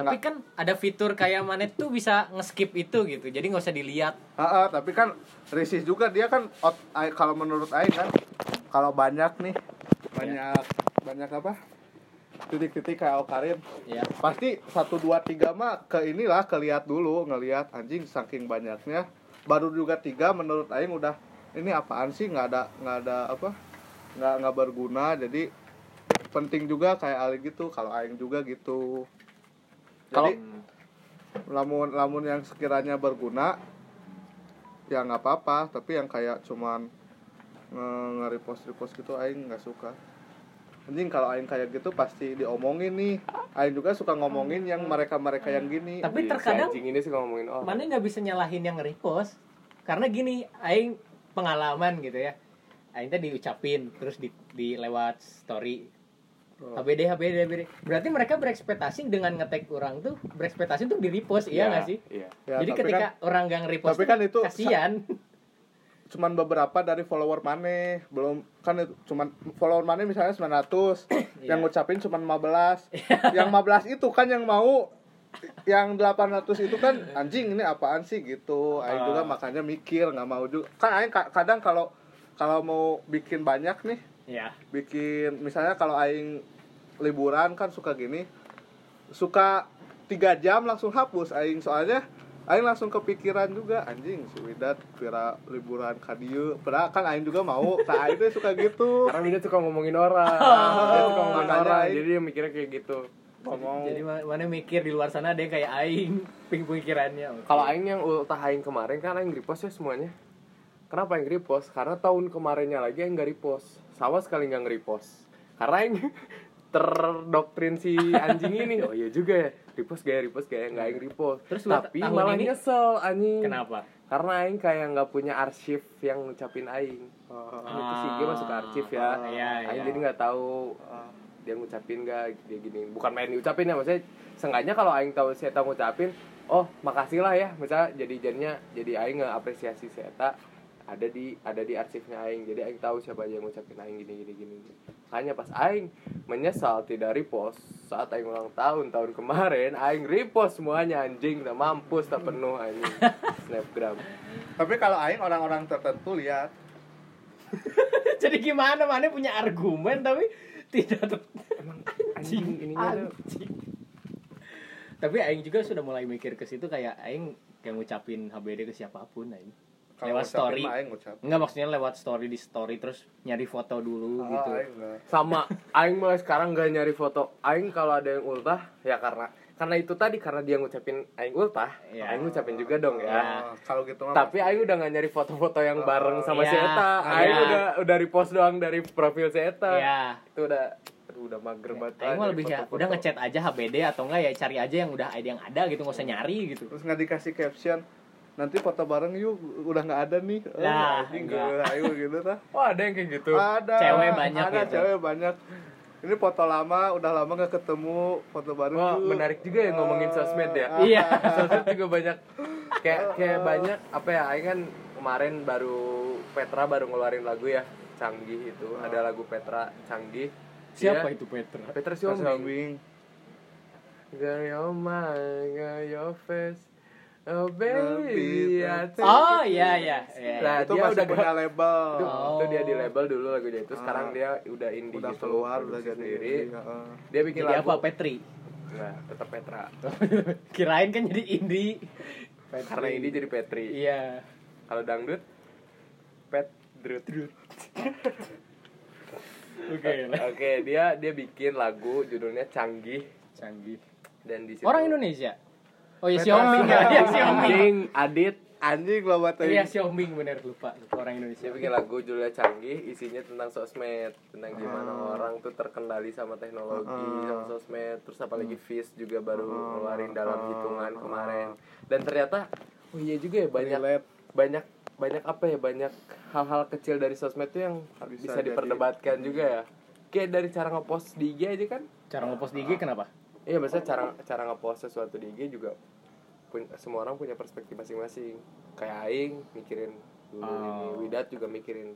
Speaker 1: tapi kan ada fitur kayak mana tuh bisa nge-skip itu gitu jadi nggak usah dilihat
Speaker 3: Heeh, tapi kan risih juga dia kan out- ai- kalau menurut Aing kan kalau banyak nih banyak banyak apa titik-titik kayak Karim
Speaker 1: ya
Speaker 3: pasti satu dua tiga mah ke inilah kelihat dulu ngelihat anjing saking banyaknya baru juga tiga menurut Aing udah ini apaan sih nggak ada nggak ada apa nggak nggak berguna jadi penting juga kayak Ali gitu kalau Aing juga gitu
Speaker 2: Kalau-
Speaker 3: jadi lamun lamun yang sekiranya berguna ya nggak apa-apa tapi yang kayak cuman nge repost repost gitu aing nggak suka anjing kalau aing kayak gitu pasti diomongin nih aing juga suka ngomongin yang mereka mereka yang gini
Speaker 1: Tapi
Speaker 2: Jadi si
Speaker 1: terkadang-
Speaker 2: anjing ini suka ngomongin orang
Speaker 1: mana nggak bisa nyalahin yang repost karena gini aing pengalaman gitu ya aing teh diucapin terus di, di lewat story
Speaker 3: Oh.
Speaker 1: HBD HBD HBD berarti mereka berekspektasi dengan ngetek orang tuh berekspektasi untuk di repost iya nggak sih
Speaker 2: iya
Speaker 3: Ya,
Speaker 1: jadi
Speaker 3: tapi
Speaker 1: ketika
Speaker 3: kan
Speaker 1: orang gang repost
Speaker 3: tapi kan itu sa- [LAUGHS]
Speaker 1: kasihan
Speaker 3: cuman beberapa dari follower maneh belum kan itu- cuman follower maneh misalnya 900 yang
Speaker 1: Iya.
Speaker 3: ngucapin cuman 15 yang 15 itu kan yang mau yang 800 itu kan anjing ini apaan sih gitu Aing juga makanya mikir nggak mau juga kan Aing ka- kadang kalau kalau mau bikin banyak nih
Speaker 1: ya
Speaker 3: bikin misalnya kalau Aing liburan kan suka gini suka tiga jam langsung hapus Aing soalnya Aing langsung kepikiran juga anjing si Widat kira liburan ka dieu padahal kan Aing juga mau tak Aing teh suka gitu
Speaker 2: karena dia suka ngomongin
Speaker 1: [LAUGHS]
Speaker 2: orang dia suka ngomongin
Speaker 3: Makanya
Speaker 2: orang
Speaker 3: Aing-
Speaker 2: jadi dia mikirnya kayak gitu
Speaker 3: ngomong
Speaker 1: jadi ma- mana mikir di luar sana ada yang kayak aing ping- pikirannya Oke.
Speaker 2: kalau aing yang ultah aing kemarin kan aing repost ya semuanya kenapa aing repost karena tahun kemarinnya lagi aing nggak repost sama sekali nggak nge-repost karena aing [LAUGHS] terdoktrin si anjing ini oh iya juga ya repost gak ya repost gak ya nggak aing repost
Speaker 1: Terus buat
Speaker 2: tapi
Speaker 1: tahun
Speaker 2: malah
Speaker 1: ini?
Speaker 2: nyesel anjing
Speaker 1: kenapa
Speaker 2: karena aing kayak nggak punya arsip yang ngucapin aing
Speaker 3: Oh,
Speaker 2: itu sih dia masuk ke arsip ya
Speaker 1: Ah, iya,
Speaker 2: aing
Speaker 1: iya.
Speaker 2: jadi nggak tahu eh,
Speaker 3: oh.
Speaker 2: dia ngucapin gak dia gini bukan main diucapin ya maksudnya sengaja kalau aing tahu si Eta ngucapin oh makasih lah ya misalnya jadi jadinya jadi aing ngeapresiasi si Eta ada di ada di arsipnya aing jadi aing tahu siapa aja yang ngucapin aing gini gini gini makanya pas aing menyesal tidak repost saat aing ulang tahun tahun kemarin aing repost semuanya anjing tak mampus tak penuh
Speaker 1: [LAUGHS]
Speaker 2: anjing snapgram
Speaker 3: tapi kalau Aing orang-orang tertentu lihat
Speaker 1: [LAUGHS] jadi gimana mana punya argumen tapi [LAUGHS] tidak
Speaker 2: emang anjing ininya tuh
Speaker 1: tapi aing juga sudah mulai mikir ke situ kayak aing kayak ngucapin HBD ke siapapun aing
Speaker 3: kalau
Speaker 1: lewat
Speaker 3: ngucapin
Speaker 1: story
Speaker 3: mah Aing ngucap
Speaker 1: enggak maksudnya lewat story di story terus nyari foto dulu
Speaker 3: Ah,
Speaker 1: gitu
Speaker 3: Aing nggak.
Speaker 2: sama aing mulai sekarang gak nyari foto aing kalau ada yang ultah ya karena karena itu tadi karena dia ngucapin aing ultah
Speaker 1: Iya.
Speaker 2: aing ngucapin juga dong ya
Speaker 3: Oh, kalau gitu mah
Speaker 2: tapi aing udah gak nyari foto-foto yang bareng sama si
Speaker 1: Iya.
Speaker 2: Eta aing
Speaker 1: Iya.
Speaker 2: udah udah repost doang dari profil si Eta
Speaker 1: ya
Speaker 2: itu udah aduh, udah mager banget
Speaker 1: aing mah
Speaker 2: nyari
Speaker 1: lebih ya
Speaker 2: foto-foto.
Speaker 1: udah ngechat aja HBD atau enggak ya cari aja yang udah ada yang ada gitu nggak
Speaker 3: Iya.
Speaker 1: usah nyari gitu
Speaker 3: terus nggak dikasih caption nanti foto bareng yuk udah nggak ada nih Eh,
Speaker 1: Nah,
Speaker 3: anjing
Speaker 1: enggak.
Speaker 3: gue ayo gitu tah
Speaker 2: wah ada yang kayak gitu
Speaker 3: ada
Speaker 1: Cewek banyak
Speaker 3: ada
Speaker 1: gitu.
Speaker 3: cewek banyak ini foto lama udah lama nggak ketemu foto bareng
Speaker 2: wah
Speaker 3: yuk.
Speaker 2: menarik juga ya ngomongin sosmed ya
Speaker 3: Ah.
Speaker 1: iya
Speaker 2: [LAUGHS] sosmed juga banyak kayak kayak banyak apa ya Aing kan kemarin baru Petra baru ngeluarin lagu ya canggih itu ada lagu Petra canggih
Speaker 1: siapa
Speaker 2: Dia-
Speaker 1: itu Petra
Speaker 2: Petra
Speaker 3: Kasih
Speaker 2: Siombing
Speaker 3: wing.
Speaker 2: Girl your mind, girl your face
Speaker 4: Oh, baby.
Speaker 3: Lebih
Speaker 4: I think-
Speaker 1: Oh iya iya. iya.
Speaker 4: Nah,
Speaker 3: itu
Speaker 4: dia
Speaker 3: masih
Speaker 4: udah
Speaker 3: punya
Speaker 4: gak-
Speaker 3: label
Speaker 2: Itu,
Speaker 1: Oh.
Speaker 2: itu dia di label dulu lagunya itu sekarang dia udah indie
Speaker 3: Ah. udah
Speaker 2: gitu,
Speaker 3: keluar udah
Speaker 2: produksi
Speaker 3: jadi
Speaker 2: sendiri.
Speaker 3: Heeh.
Speaker 2: Dia bikin
Speaker 1: Jadi
Speaker 2: lagu.
Speaker 1: apa Petri? [LAUGHS]
Speaker 2: Nah, tetap Petra.
Speaker 1: Kirain kan jadi indie.
Speaker 2: Karena ini jadi Petri.
Speaker 1: Iya.
Speaker 2: Kalau dangdut Pet Drut.
Speaker 1: Oke.
Speaker 2: Oke, dia dia bikin lagu judulnya Canggih
Speaker 1: Canggih.
Speaker 2: dan di situ
Speaker 1: Orang Indonesia. Oh iya Xiaomi [LAUGHS] ya, iya Xiaomi.
Speaker 2: Ding, Adit
Speaker 3: anjing lo batain
Speaker 1: Iya Xiaomi bener lupa orang Indonesia.
Speaker 2: Dia bikin lagu judulnya Canggih, isinya tentang sosmed, tentang gimana
Speaker 3: Ah.
Speaker 2: orang tuh terkendali sama teknologi, sama sosmed, terus apalagi
Speaker 3: Hmm.
Speaker 2: Fizz juga baru
Speaker 3: Ah.
Speaker 2: ngeluarin dalam hitungan kemarin. Dan ternyata, oh iya juga ya banyak
Speaker 3: Relate.
Speaker 2: banyak banyak apa ya banyak hal-hal kecil dari sosmed tuh yang
Speaker 3: Bisa
Speaker 2: bisa,
Speaker 3: jadi-
Speaker 2: diperdebatkan juga ya. Kayak dari cara ngepost di IG aja kan?
Speaker 1: Cara ngepost di IG kenapa?
Speaker 2: Iya, maksudnya cara cara ngepost sesuatu di IG juga pun- semua orang punya perspektif masing-masing. Kayak Aing mikirin dulu ini,
Speaker 3: Oh.
Speaker 2: Widat juga mikirin.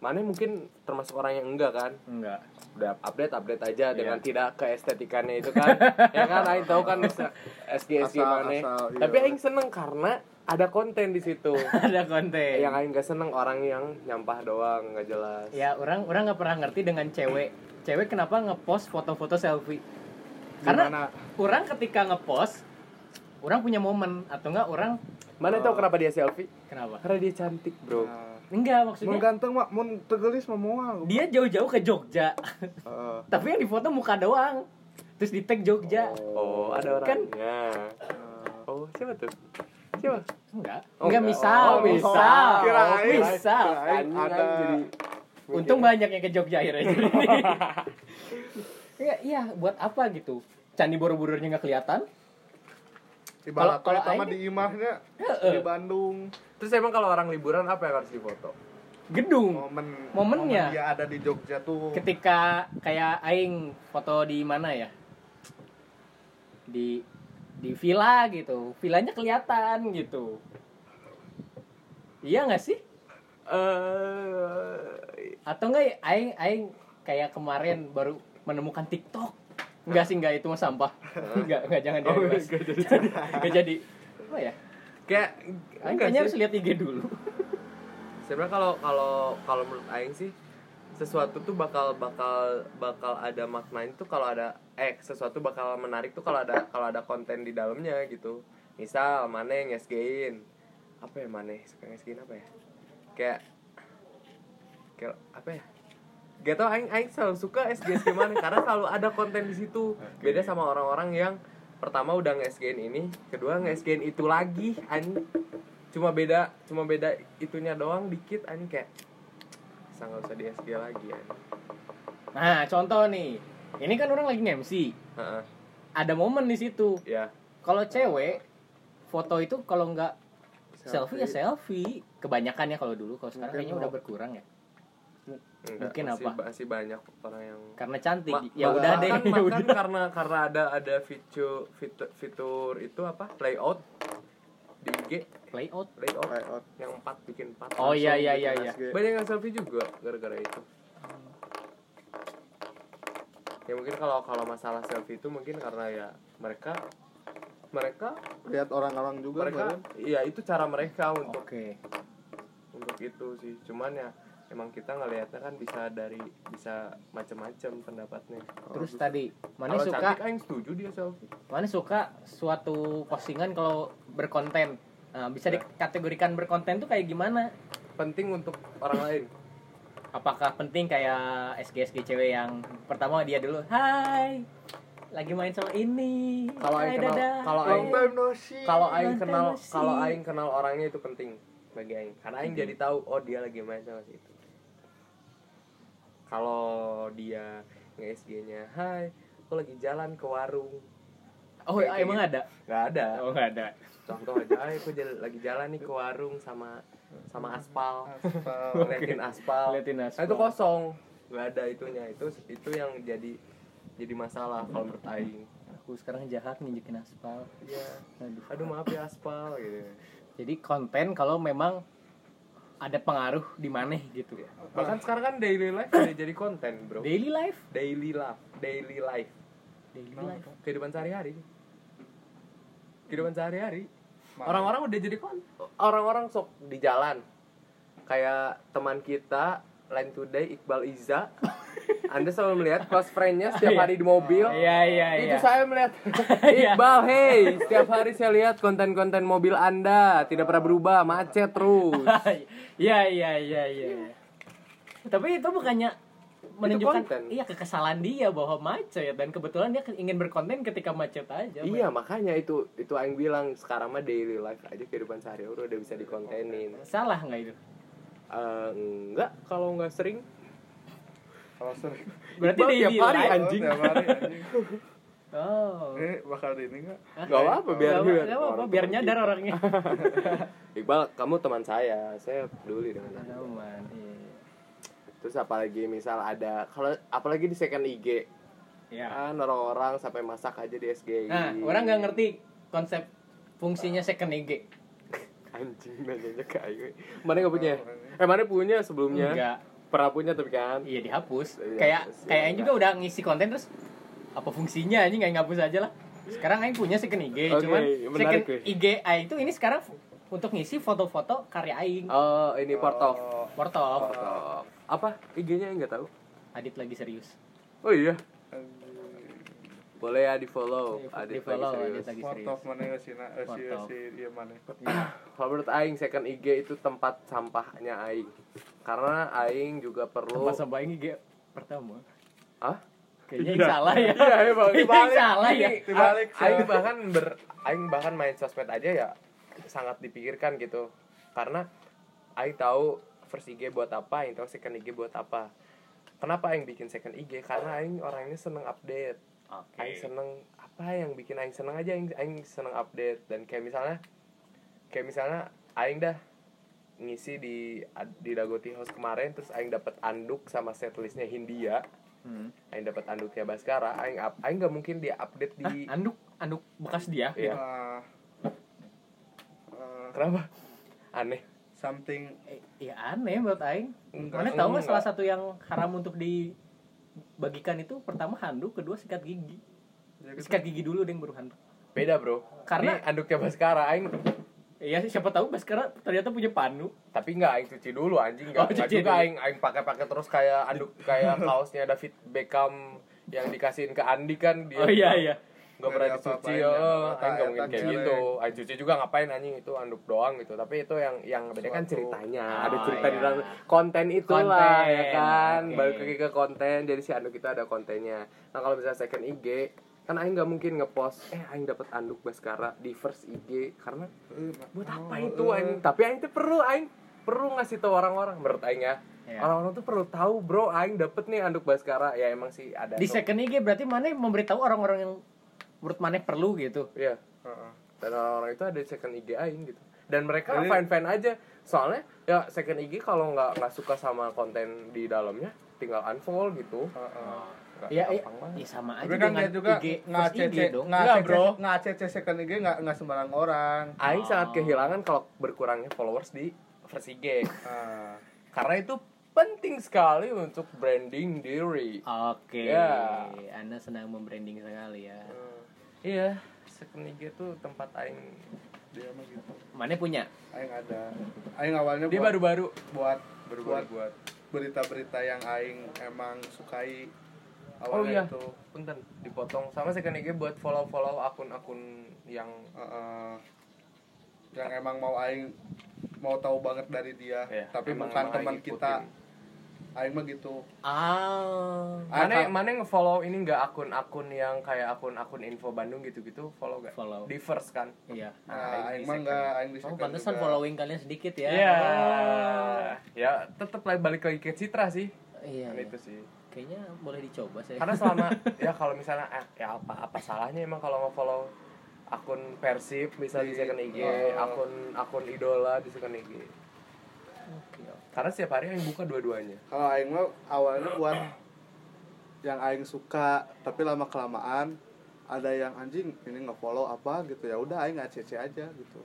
Speaker 2: Mana mungkin termasuk orang yang enggak kan?
Speaker 1: Enggak. [LAUGHS]
Speaker 2: Udah update update
Speaker 3: Iya.
Speaker 2: aja dengan tidak keestetikannya itu
Speaker 3: [LAUGHS]
Speaker 2: kan. ya kan Aing tahu kan SG SG
Speaker 3: Asal-
Speaker 2: mana.
Speaker 3: asal, iya.
Speaker 2: Tapi Aing seneng karena ada konten di
Speaker 3: [LAUGHS]
Speaker 2: situ.
Speaker 1: Ada konten.
Speaker 2: yang Aing gak seneng orang yang nyampah doang nggak jelas.
Speaker 1: Ya
Speaker 3: Iya.
Speaker 1: orang orang nggak pernah ngerti dengan cewek. Cewek kenapa ngepost foto-foto selfie? Karena
Speaker 3: Gimana?
Speaker 1: orang ketika ngepost, orang punya momen atau enggak orang
Speaker 2: Mana tahu kenapa dia selfie?
Speaker 1: kenapa?
Speaker 2: Karena dia cantik bro.
Speaker 3: Oh. Nah,
Speaker 1: Enggak
Speaker 3: mun
Speaker 1: maksudnya
Speaker 3: ganteng mah mun tegelis mah moal
Speaker 1: dia jauh-jauh ke Jogja, [LAUGHS]
Speaker 3: Heeh.
Speaker 1: tapi yang difoto muka doang. Terus di tag Jogja.
Speaker 2: Oh, ada
Speaker 1: Kan-
Speaker 2: orangnya. Oh, siapa tuh? Siapa?
Speaker 1: Enggak.
Speaker 2: Oh,
Speaker 1: enggak
Speaker 2: enggak.
Speaker 1: misal,
Speaker 2: Oh,
Speaker 1: misal.
Speaker 3: Kirain,
Speaker 1: misal.
Speaker 3: kirain
Speaker 2: Anjing,
Speaker 3: ada
Speaker 2: kan jadi-
Speaker 1: Untung banyak yang ke Jogja
Speaker 2: [LAUGHS]
Speaker 1: akhirnya. jadi. Iya, iya, buat apa gitu? Candi Borobudur-nya nggak kelihatan? Kalau-
Speaker 3: ibarat
Speaker 1: kalau
Speaker 3: sama
Speaker 1: Aing-
Speaker 3: di imahnya
Speaker 1: Heeh.
Speaker 3: di Bandung
Speaker 2: Terus emang kalau orang liburan apa yang harus difoto? Oh.
Speaker 1: Gedung.
Speaker 3: momen
Speaker 1: Momennya.
Speaker 3: momen dia ada di Jogja tuh
Speaker 1: ketika kayak aing foto di mana ya di di villa gitu villanya kelihatan gitu iya nggak sih
Speaker 2: Eh,
Speaker 1: atau enggak ya, aing aing kayak kemarin baru menemukan TikTok enggak sih enggak itu mah sampah
Speaker 2: [LAUGHS]
Speaker 1: enggak enggak jangan
Speaker 2: Oh,
Speaker 1: jangan Mas.
Speaker 2: enggak jadi.
Speaker 1: enggak jadi apa ya
Speaker 2: kayak
Speaker 1: aing
Speaker 2: enggak
Speaker 1: kayaknya harus
Speaker 2: sih.
Speaker 1: lihat IG dulu
Speaker 2: Sebenarnya kalau kalau kalau menurut aing sih sesuatu tuh bakal bakal bakal ada maknanya tuh kalau ada eh sesuatu bakal menarik tuh kalau ada kalau ada konten di dalamnya gitu. Misal mana yang ngesgein apa ya mana suka ngesgein apa ya? Kayak kayak apa ya? Gak tau aing aing selalu suka SGS gimana karena selalu ada konten di situ. Beda sama orang-orang yang pertama udah nge-SGN ini, kedua nge-SGN itu lagi anjing. Cuma beda cuma beda itunya doang dikit anjing kayak "Sa, nggak usah di SG lagi ya.
Speaker 1: nah contoh nih ini kan orang lagi MC
Speaker 2: Heeh.
Speaker 1: ada momen di situ
Speaker 2: Ya.
Speaker 1: kalau cewek foto itu kalau nggak selfie. ya selfie kebanyakannya kalau dulu kalau sekarang
Speaker 3: Mungkin
Speaker 1: kayaknya udah
Speaker 3: mau-
Speaker 1: berkurang ya
Speaker 2: Enggak,
Speaker 1: Mungkin
Speaker 2: masih,
Speaker 1: apa?
Speaker 2: masih banyak orang yang
Speaker 1: karena cantik
Speaker 2: Ma-
Speaker 1: ya
Speaker 2: ma-
Speaker 1: udah deh [LAUGHS]
Speaker 2: makan,
Speaker 1: ya
Speaker 2: makan
Speaker 1: udah
Speaker 2: karena karena ada ada fitur fitur, fitur itu apa? Layout di IG
Speaker 1: layout
Speaker 2: layout
Speaker 3: Layout.
Speaker 2: yang empat bikin empat
Speaker 1: oh iya iya iya
Speaker 3: Langsung
Speaker 1: iya
Speaker 3: bikin SG.
Speaker 2: banyak yang selfie juga gara-gara itu ya mungkin kalau kalau masalah selfie itu mungkin karena ya mereka mereka
Speaker 3: lihat orang-orang juga
Speaker 2: mereka
Speaker 3: kemarin.
Speaker 2: iya itu cara mereka
Speaker 1: oke
Speaker 2: untuk untuk itu sih cuman ya emang kita ngelihatnya kan bisa dari bisa macam-macam pendapatnya
Speaker 1: terus tadi mana
Speaker 2: kalau
Speaker 1: suka
Speaker 2: cantik kan? aing setuju dia selfie
Speaker 1: mana suka suatu postingan kalau berkonten Nah, bisa
Speaker 2: Iya.
Speaker 1: dikategorikan berkonten tuh kayak gimana
Speaker 2: penting untuk orang lain
Speaker 1: apakah penting kayak SG SG cewek yang pertama dia dulu hai lagi main sama ini
Speaker 2: Kalau
Speaker 1: Hai,
Speaker 2: yang kenal-
Speaker 1: dadah."
Speaker 2: kalau
Speaker 3: long
Speaker 2: Aing-
Speaker 3: time no see
Speaker 2: kalau aing
Speaker 1: Eh, Mantan
Speaker 2: kenal
Speaker 1: sih.
Speaker 2: kalau aing kenal orangnya itu penting bagi aing karena aing jadi tahu oh dia lagi main sama si itu kalau dia nge SG nya hai aku lagi jalan ke warung
Speaker 1: oh
Speaker 2: kayak-
Speaker 1: emang
Speaker 2: kayak-
Speaker 1: ada
Speaker 2: nggak ada
Speaker 1: oh nggak ada
Speaker 2: contoh aja hai aku jal- lagi jalan nih ke warung sama sama aspal ngeliatin aspal
Speaker 1: Ngeliatin aspal.
Speaker 2: Nah, itu kosong nggak ada itunya itu itu yang jadi jadi masalah kalau menurut aing
Speaker 1: aku sekarang jahat nginjekin aspal
Speaker 2: Iya.
Speaker 1: Aduh.
Speaker 2: aduh maaf ya aspal gitu
Speaker 1: Jadi konten kalau memang ada pengaruh di mana gitu.
Speaker 2: Iya. bahkan sekarang kan daily life udah jadi konten bro
Speaker 1: Daily life,
Speaker 2: daily life daily life
Speaker 1: daily life.
Speaker 2: kehidupan sehari-hari kehidupan sehari-hari
Speaker 4: Orang-orang udah jadi kon.
Speaker 2: orang-orang sok di jalan kayak teman kita Line Today Iqbal Iza
Speaker 1: [LAUGHS]
Speaker 2: Anda selalu melihat close friendnya setiap hari di mobil
Speaker 1: Iya iya iya.
Speaker 2: itu saya
Speaker 1: [LAUGHS]
Speaker 2: melihat Iqbal hey setiap hari saya lihat konten-konten mobil Anda tidak pernah berubah macet terus
Speaker 1: [LAUGHS] Iya iya iya iya. Tapi itu bukannya menunjukkan
Speaker 2: konten.
Speaker 1: iya kekesalan dia bahwa macet dan kebetulan dia ke- ingin berkonten ketika macet aja.
Speaker 2: iya makanya itu itu yang bilang sekarang mah daily life aja kehidupan sehari-hari udah bisa dikontenin
Speaker 1: Bang. Salah nggak itu?
Speaker 2: Eh, enggak kalau nggak sering
Speaker 3: Kalau sering.
Speaker 1: Berarti
Speaker 2: Iqbal tiap
Speaker 1: daily
Speaker 2: hari,
Speaker 1: life.
Speaker 2: Anjing.
Speaker 3: Oh, tiap hari, anjing.
Speaker 1: Oh.
Speaker 3: Ini bakal di ini nggak?
Speaker 2: Eh, nggak apa-apa biar
Speaker 1: Nggak apa-
Speaker 2: lihat
Speaker 1: nggak apa-apa,
Speaker 2: orang
Speaker 1: biar
Speaker 2: teman
Speaker 1: nyadar
Speaker 2: kita. [LAUGHS]
Speaker 1: orangnya.
Speaker 2: Iqbal kamu teman saya saya peduli dengan anda
Speaker 1: Ada man. Iya.
Speaker 2: terus apalagi misal ada kalau apalagi di second IG
Speaker 1: Iya.
Speaker 2: kan orang-orang sampai masak aja di SGI
Speaker 1: Nah, orang nggak ngerti konsep fungsinya second IG.
Speaker 2: anjing nanya kayu mana nggak punya eh mana punya sebelumnya
Speaker 1: Enggak.
Speaker 2: pernah punya tapi kan
Speaker 1: Iya dihapus.
Speaker 2: Iya,
Speaker 1: Kayak
Speaker 2: dihapus,
Speaker 1: kayak
Speaker 2: iya,
Speaker 1: Aing juga udah ngisi konten terus apa fungsinya anjing kayak ngapus aja lah. Sekarang Aing punya second IG,
Speaker 2: Oke,
Speaker 1: cuman second
Speaker 2: menarik nih.
Speaker 1: IG Aing itu ini sekarang fu- untuk ngisi foto-foto karya Aing.
Speaker 2: oh ini portof
Speaker 1: Portol.
Speaker 2: portof apa IG-nya nggak tahu
Speaker 1: Adit lagi serius.
Speaker 2: oh iya boleh ya di follow
Speaker 1: Di-
Speaker 2: ada
Speaker 1: di follow,
Speaker 2: serius
Speaker 1: Adit lagi
Speaker 3: Foto
Speaker 1: serius.
Speaker 3: mana ya sih nak? Eh, Si
Speaker 1: Foto.
Speaker 3: si iya mana?
Speaker 2: [CLEARS THROAT] Kalau menurut Aing second IG itu tempat sampahnya Aing karena Aing juga perlu
Speaker 1: Masa Aing IG pertama.
Speaker 2: ah
Speaker 1: Kayaknya yang salah [LAUGHS] ya.
Speaker 2: Iya, emang.
Speaker 1: Kayaknya yang salah ya.
Speaker 3: Dibalik,
Speaker 2: Aing
Speaker 3: so.
Speaker 2: bahkan ber Aing bahkan main sosmed aja ya sangat dipikirkan gitu karena Aing tahu first IG buat apa Aing tahu second IG buat apa kenapa Aing bikin second IG karena Aing orangnya seneng update Aing seneng apa yang bikin Aing seneng aja Aing, Aing seneng update dan kayak misalnya kayak misalnya Aing dah ngisi di di Dagoti House kemarin terus Aing dapat anduk sama setlistnya Hindia Aing dapat anduknya Baskara, Aing up, Aing nggak mungkin dia update
Speaker 1: Hah,
Speaker 2: di,
Speaker 1: anduk anduk bekas dia.
Speaker 2: Iya.
Speaker 3: Ah, ah,
Speaker 2: kenapa? Aneh.
Speaker 3: Something
Speaker 1: Eh, Iya aneh menurut Aing.
Speaker 3: Enggak,
Speaker 1: Mana tahu nggak
Speaker 2: enggak.
Speaker 1: salah satu yang haram untuk dibagikan itu pertama handuk, kedua sikat gigi.
Speaker 3: Jadi
Speaker 1: Sikat gigi dulu deh yang baru handuk.
Speaker 2: Beda bro.
Speaker 1: Karena-
Speaker 2: Ini anduknya Baskara, Aing.
Speaker 1: Iya siapa tahu Baskara ternyata punya panu.
Speaker 2: Tapi nggak Aing cuci dulu anjing nggak
Speaker 1: Oh,
Speaker 2: nggak
Speaker 1: cuci
Speaker 2: juga
Speaker 1: dulu.
Speaker 2: Aing Aing pakai-pakai terus kayak anduk
Speaker 1: [LAUGHS]
Speaker 2: kayak kaosnya David Beckham yang dikasihin ke Andi kan dia.
Speaker 1: Oh iya iya.
Speaker 2: Nggak pernah
Speaker 3: Nggak
Speaker 2: dicuci,
Speaker 3: diapa-apain,
Speaker 2: ya.
Speaker 3: nggak apa-apa,
Speaker 2: Aing nggak
Speaker 3: ya,
Speaker 2: mungkin kayak
Speaker 3: tak
Speaker 2: gitu. Aing cuci juga ngapain anjing itu anduk doang gitu. Tapi itu yang yang beda kan
Speaker 3: Suatu-
Speaker 2: ceritanya.
Speaker 1: Oh,
Speaker 2: ada cerita di
Speaker 1: iya.
Speaker 2: dalam konten itulah
Speaker 1: Konten,
Speaker 2: ya kan.
Speaker 1: oke.
Speaker 2: Balik lagi ke konten. Jadi si anduk itu ada kontennya. Nah kalau misalnya second IG kan Aing nggak mungkin ngepost eh Aing dapat anduk Baskara di first IG karena
Speaker 3: Eh, nah,
Speaker 2: buat apa
Speaker 3: oh,
Speaker 2: itu
Speaker 3: eh.
Speaker 2: Aing tapi Aing tuh perlu Aing perlu ngasih tahu orang-orang menurut Aing ya
Speaker 1: Iya.
Speaker 2: orang-orang tuh perlu tahu bro Aing dapet nih anduk Baskara ya emang sih ada
Speaker 1: Di second IG berarti mana memberitahu orang-orang yang menurut mana perlu gitu.
Speaker 2: ya
Speaker 3: Heeh.
Speaker 2: dan orang-orang itu ada di second IG Aing gitu dan mereka
Speaker 3: Jadi-
Speaker 2: fine fine aja soalnya ya second IG kalau nggak nggak suka sama konten di dalamnya tinggal unfollow gitu
Speaker 3: Heeh.
Speaker 1: Iya iya. Ya, sama aja
Speaker 3: Ah, Tapi kan dia
Speaker 1: dengan
Speaker 3: juga
Speaker 1: IG
Speaker 3: nggak
Speaker 1: first
Speaker 3: CC,
Speaker 1: IG dong.
Speaker 3: nggak
Speaker 2: Nggak, bro.
Speaker 3: CC, nggak CC second IG nggak nggak sembarang orang.
Speaker 2: Aing sangat kehilangan kalau berkurangnya followers di first IG
Speaker 3: Ah,
Speaker 2: karena itu penting sekali untuk branding diri
Speaker 1: Oke.
Speaker 3: Iya.
Speaker 2: Ya.
Speaker 1: Anda senang membranding sekali ya.
Speaker 3: ah.
Speaker 2: Iya, second IG tuh tempat aing.
Speaker 3: dia mah gitu.
Speaker 1: Mana punya?
Speaker 3: Aing ada. Aing awalnya
Speaker 2: Dia
Speaker 3: buat,
Speaker 2: baru-baru
Speaker 3: buat
Speaker 2: baru-baru
Speaker 3: buat
Speaker 2: buat.
Speaker 3: berita-berita yang aing emang sukai
Speaker 2: Oh iya.
Speaker 3: awalnya itu.
Speaker 2: Punten, dipotong sama second IG buat follow-follow akun-akun yang
Speaker 3: Heeh. yang emang mau aing mau tahu banget dari dia,
Speaker 2: Iya,
Speaker 3: tapi
Speaker 2: emang-
Speaker 3: bukan
Speaker 2: emang
Speaker 3: teman
Speaker 2: aing
Speaker 3: kita.
Speaker 2: ikutin.
Speaker 3: Aing mah gitu.
Speaker 1: Ah.
Speaker 2: Mana
Speaker 3: Aing-
Speaker 2: mana nge-follow ini enggak akun-akun yang kayak akun-akun info Bandung gitu-gitu follow gak?
Speaker 1: Follow.
Speaker 2: Di first kan.
Speaker 1: Iya.
Speaker 2: Aing kan.
Speaker 3: Nah, aing
Speaker 2: di
Speaker 3: mah
Speaker 2: second.
Speaker 3: enggak, aing kan. di
Speaker 1: Oh,
Speaker 3: second
Speaker 1: pantesan
Speaker 3: juga.
Speaker 1: following kalian sedikit ya.
Speaker 2: Iya.
Speaker 1: Ah.
Speaker 2: Ya, tetap lagi balik lagi ke Citra sih.
Speaker 1: Iya.
Speaker 2: Kan
Speaker 1: iya.
Speaker 2: itu sih.
Speaker 1: Kayaknya boleh dicoba sih.
Speaker 3: Kan.
Speaker 2: Karena selama [LAUGHS] ya kalau misalnya ah, ya apa apa salahnya emang kalau nge-follow akun Persib bisa di second IG,
Speaker 3: Oh.
Speaker 2: akun akun idola di second IG.
Speaker 1: Oke, oke.
Speaker 2: Karena setiap hari yang buka dua-duanya.
Speaker 3: Kalau aing mah awalnya buat yang aing suka, tapi lama kelamaan ada yang anjing ini nggak follow apa gitu ya udah aing ACC aja gitu.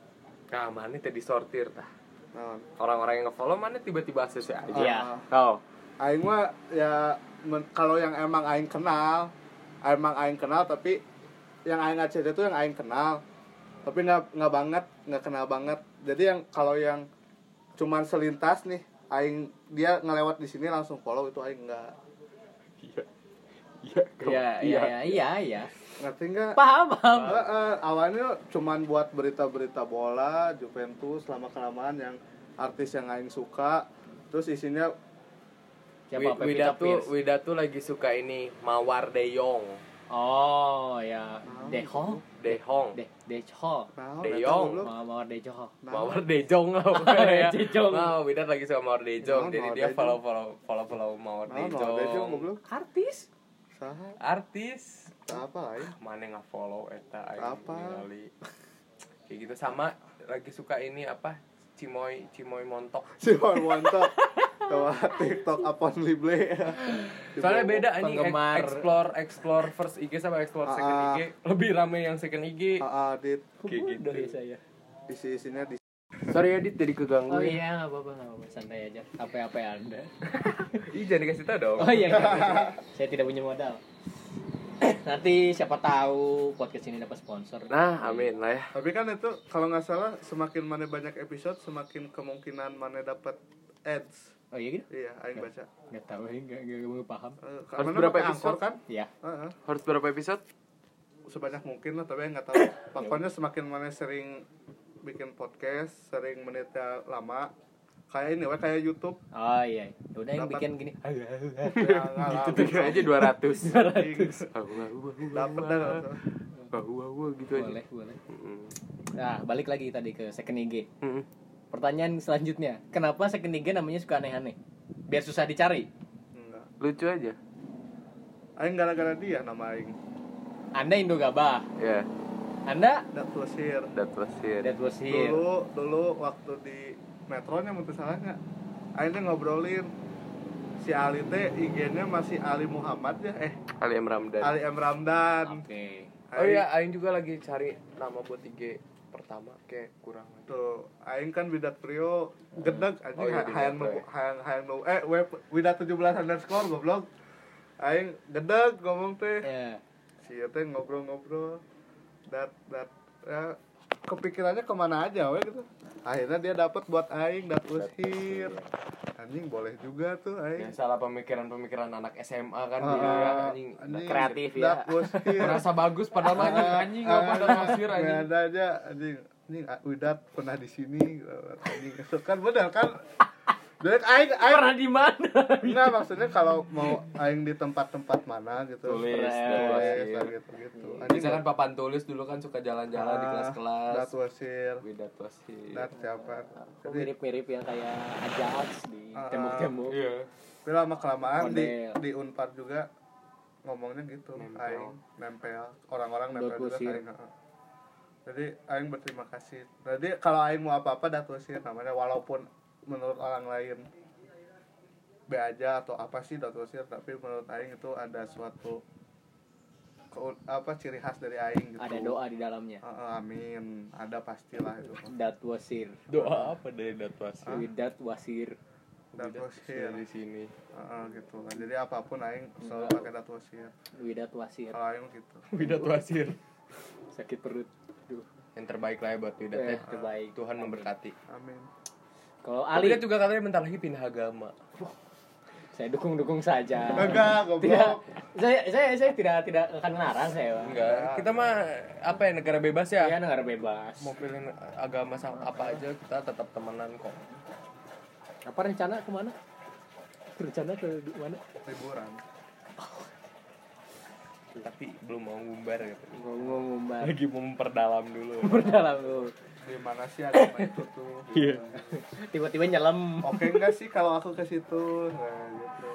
Speaker 2: Nah, mana tadi sortir tah.
Speaker 3: Nah,
Speaker 2: Orang-orang yang nge-follow mana tiba-tiba ACC aja.
Speaker 1: Iya.
Speaker 2: Oh.
Speaker 3: ah, aing mah ya men- kalau yang emang aing kenal, emang aing kenal tapi yang aing ACC itu yang aing kenal. tapi nggak nggak banget nggak kenal banget jadi yang kalau yang cuman selintas nih aing dia ngelewat di sini langsung follow itu aing nggak
Speaker 2: Iya. Iya. kamu-
Speaker 1: Iya, iya, iya, iya, iya.
Speaker 3: ngerti nggak
Speaker 1: Paham, paham.
Speaker 3: Eh, eh, awalnya cuman buat berita-berita bola Juventus lama kelamaan yang artis yang aing suka terus isinya
Speaker 1: Siapa
Speaker 2: Wi-
Speaker 1: Pevita
Speaker 2: Wida tuh
Speaker 1: Pierce?
Speaker 2: Wida tuh lagi suka ini Mawar De Jong,
Speaker 1: Oh, ya.
Speaker 3: Ah,
Speaker 1: Deho,
Speaker 2: De Hong,
Speaker 1: De Deho.
Speaker 3: nah,
Speaker 2: De
Speaker 3: nggak
Speaker 2: Jong.
Speaker 3: tahu lu.
Speaker 1: Mawar Deho.
Speaker 3: Nah,
Speaker 2: Mawar De Jong lah
Speaker 3: [LAUGHS]
Speaker 2: pokoknya ya.
Speaker 1: De Jong.
Speaker 2: Nah, Wida lagi suka Mawar De Jong,
Speaker 3: Nah,
Speaker 2: jadi
Speaker 3: Mawar
Speaker 2: dia
Speaker 3: De Jong.
Speaker 2: follow follow follow follow Mawar
Speaker 3: nah, nah, De Jong goblok.
Speaker 1: Artis.
Speaker 3: Saha?
Speaker 2: Artis
Speaker 3: apa aing
Speaker 2: mana nggak follow eta aing
Speaker 3: Apa?
Speaker 2: ningali. kayak gitu sama lagi suka ini apa cimoy cimoy montok
Speaker 3: si Wanwanto sama TikTok Apon Lible
Speaker 2: soalnya beda anjing
Speaker 1: penggemar.
Speaker 2: Ex- explore explore first IG sama explore second
Speaker 3: Ah.
Speaker 2: IG lebih rame yang second IG
Speaker 3: Ah, ah, dit
Speaker 2: kayak gitu
Speaker 1: Bodoh ya saya.
Speaker 3: isi isinya di
Speaker 2: sorry edit jadi keganggu
Speaker 1: Oh iya, nggak apa-apa, nggak apa-apa. Santai aja. Apa-apa ya, Anda.
Speaker 2: Ih, jangan dikasih tau dong
Speaker 1: [LAUGHS] Oh iya, saya tidak punya modal. [CLEARS THROAT] Nanti siapa tahu podcast ini dapat sponsor.
Speaker 2: nah amin lah ya
Speaker 3: tapi kan itu kalau nggak salah semakin mana banyak episode semakin kemungkinan mana dapat ads
Speaker 1: Oh iya gitu?
Speaker 3: iya aing baca
Speaker 1: Nggak tahu, nggak nggak mau paham.
Speaker 3: Eh,
Speaker 2: Harus
Speaker 3: mana
Speaker 2: berapa
Speaker 3: pakai
Speaker 2: episode?
Speaker 3: Anchor, kan
Speaker 1: Ya,
Speaker 3: Heeh.
Speaker 2: harus berapa episode
Speaker 3: sebanyak mungkin lah tapi nggak tahu pokoknya semakin mana sering bikin podcast sering menitnya lama kayak ini weh kayak
Speaker 2: [LAUGHS]
Speaker 3: YouTube
Speaker 1: oh iya. Udah yang
Speaker 3: Dapat.
Speaker 1: bikin gini.
Speaker 3: ya, nggak
Speaker 2: itu aja 200
Speaker 3: ratus
Speaker 2: Wah, wah, wah,
Speaker 3: dapat dah nggak tahu.
Speaker 2: wah, wah, wah, gitu aja
Speaker 1: Boleh, boleh.
Speaker 2: Mm.
Speaker 1: Nah, balik lagi tadi ke second IG.
Speaker 2: Mm.
Speaker 1: Pertanyaan selanjutnya, kenapa second IG namanya suka aneh-aneh? Biar susah dicari.
Speaker 3: Nggak.
Speaker 2: lucu aja
Speaker 3: Aing gara-gara dia nama Aing
Speaker 1: Anda Indo Gabah.
Speaker 2: ya
Speaker 1: Anda
Speaker 3: Dat Plesir
Speaker 2: that was it
Speaker 1: That was
Speaker 2: Iya.
Speaker 1: here.
Speaker 3: Dulu, dulu waktu di metronya mau salah nggak Aing tuh ngobrolin Si Ali teh IG-nya masih Ali Muhammad ya Eh,
Speaker 2: Ali M. Ramdan
Speaker 3: Ali M. Ramdan
Speaker 1: Oke.
Speaker 2: Oh iya, Aing juga lagi cari nama buat IG pertama kayak kurang aja.
Speaker 3: Tuh, Aing kan Widat Prio Gedeg,
Speaker 2: Oh
Speaker 3: anjing
Speaker 2: iya,
Speaker 3: hayang hayang
Speaker 2: Widat
Speaker 3: nu- hayang hayang nu- Eh, web Widat 17 underscore goblok Aing gedeg ngomong teh
Speaker 1: Ya.
Speaker 3: si teh ngobrol-ngobrol dat dat ya, kepikirannya kemana aja we gitu akhirnya dia dapat buat aing dat usir anjing boleh juga tuh
Speaker 2: Ya
Speaker 3: aing
Speaker 2: salah pemikiran-pemikiran anak SMA kan
Speaker 3: Ah,
Speaker 2: dulu ya anjing.
Speaker 3: anjing,
Speaker 1: kreatif ya.
Speaker 3: dat usir
Speaker 2: Merasa bagus padahal mah anjing anjing enggak pada pasir
Speaker 3: Ah, nggak
Speaker 2: anjing.
Speaker 3: ada aja anjing anjing A- Widat pernah di sini gitu. anjing itu kan benar kan Jadi aing aing
Speaker 1: Pernah di mana?
Speaker 3: enggak maksudnya kalau mau aing di tempat-tempat mana gitu
Speaker 2: Tulis, tulis. iya.
Speaker 3: gitu gitu
Speaker 2: Misalkan papan tulis dulu kan suka jalan-jalan di kelas-kelas.
Speaker 3: Ah, dat wasir
Speaker 2: Widat
Speaker 1: Iya.
Speaker 2: wasir.
Speaker 3: dat siapa
Speaker 1: Kok Mirip-mirip yang kayak Ajats di
Speaker 3: Ah,
Speaker 1: tembok-tembok.
Speaker 2: Iya.
Speaker 3: Tapi lama kelamaan di
Speaker 1: Model.
Speaker 3: di Unpar juga ngomongnya gitu,
Speaker 2: Nempel.
Speaker 3: aing nempel orang-orang
Speaker 1: Dat
Speaker 3: nempel juga
Speaker 1: Wasir.
Speaker 3: ke aing. heeh. Jadi aing berterima kasih. Jadi kalau aing mau apa-apa dat wasir namanya walaupun menurut orang lain be aja atau apa sih dat wasir tapi menurut aing itu ada suatu keun- apa ciri khas dari aing gitu.
Speaker 1: Ada doa di dalamnya.
Speaker 3: Heeh, amin, ada pastilah itu.
Speaker 1: That wasir.
Speaker 2: Doa apa dari dat wasir?
Speaker 1: Widat wasir.
Speaker 3: Dat wasir.
Speaker 2: Di sini.
Speaker 3: Heeh, gitu. kan. Jadi apapun aing selalu pakai dat wasir.
Speaker 1: Widat wasir.
Speaker 3: Kalau aing gitu.
Speaker 2: Widat wasir.
Speaker 1: Sakit perut. Duh.
Speaker 2: Yang terbaik lah ya buat Widat
Speaker 1: Eh,
Speaker 2: ya.
Speaker 3: Ah.
Speaker 1: terbaik.
Speaker 2: Tuhan memberkati.
Speaker 3: Amin.
Speaker 1: Kalau Ali,
Speaker 2: Widat juga katanya bentar lagi pindah agama.
Speaker 1: saya dukung-dukung saja.
Speaker 3: Enggak,
Speaker 1: Tidak.
Speaker 3: goblok.
Speaker 1: Saya saya saya tidak tidak akan melarang saya, Pak.
Speaker 2: Enggak, kita mah apa ya negara bebas ya?
Speaker 1: Iya, negara bebas.
Speaker 2: mau pilih agama sama apa aja kita tetap temenan kok
Speaker 1: Apa rencana kemana? Rencana ke mana?
Speaker 3: Liburan.
Speaker 2: tapi belum mau ngumbar gitu
Speaker 1: Ngomong ngumbar.
Speaker 2: lagi mau memperdalam dulu
Speaker 1: Berdalam dulu.
Speaker 3: Di mana
Speaker 1: [LAUGHS]
Speaker 3: sih agama itu tuh?
Speaker 1: Iya.
Speaker 3: Gitu.
Speaker 1: Tiba-tiba nyelam.
Speaker 3: Oke enggak sih kalau aku ke situ? Nah, gitu.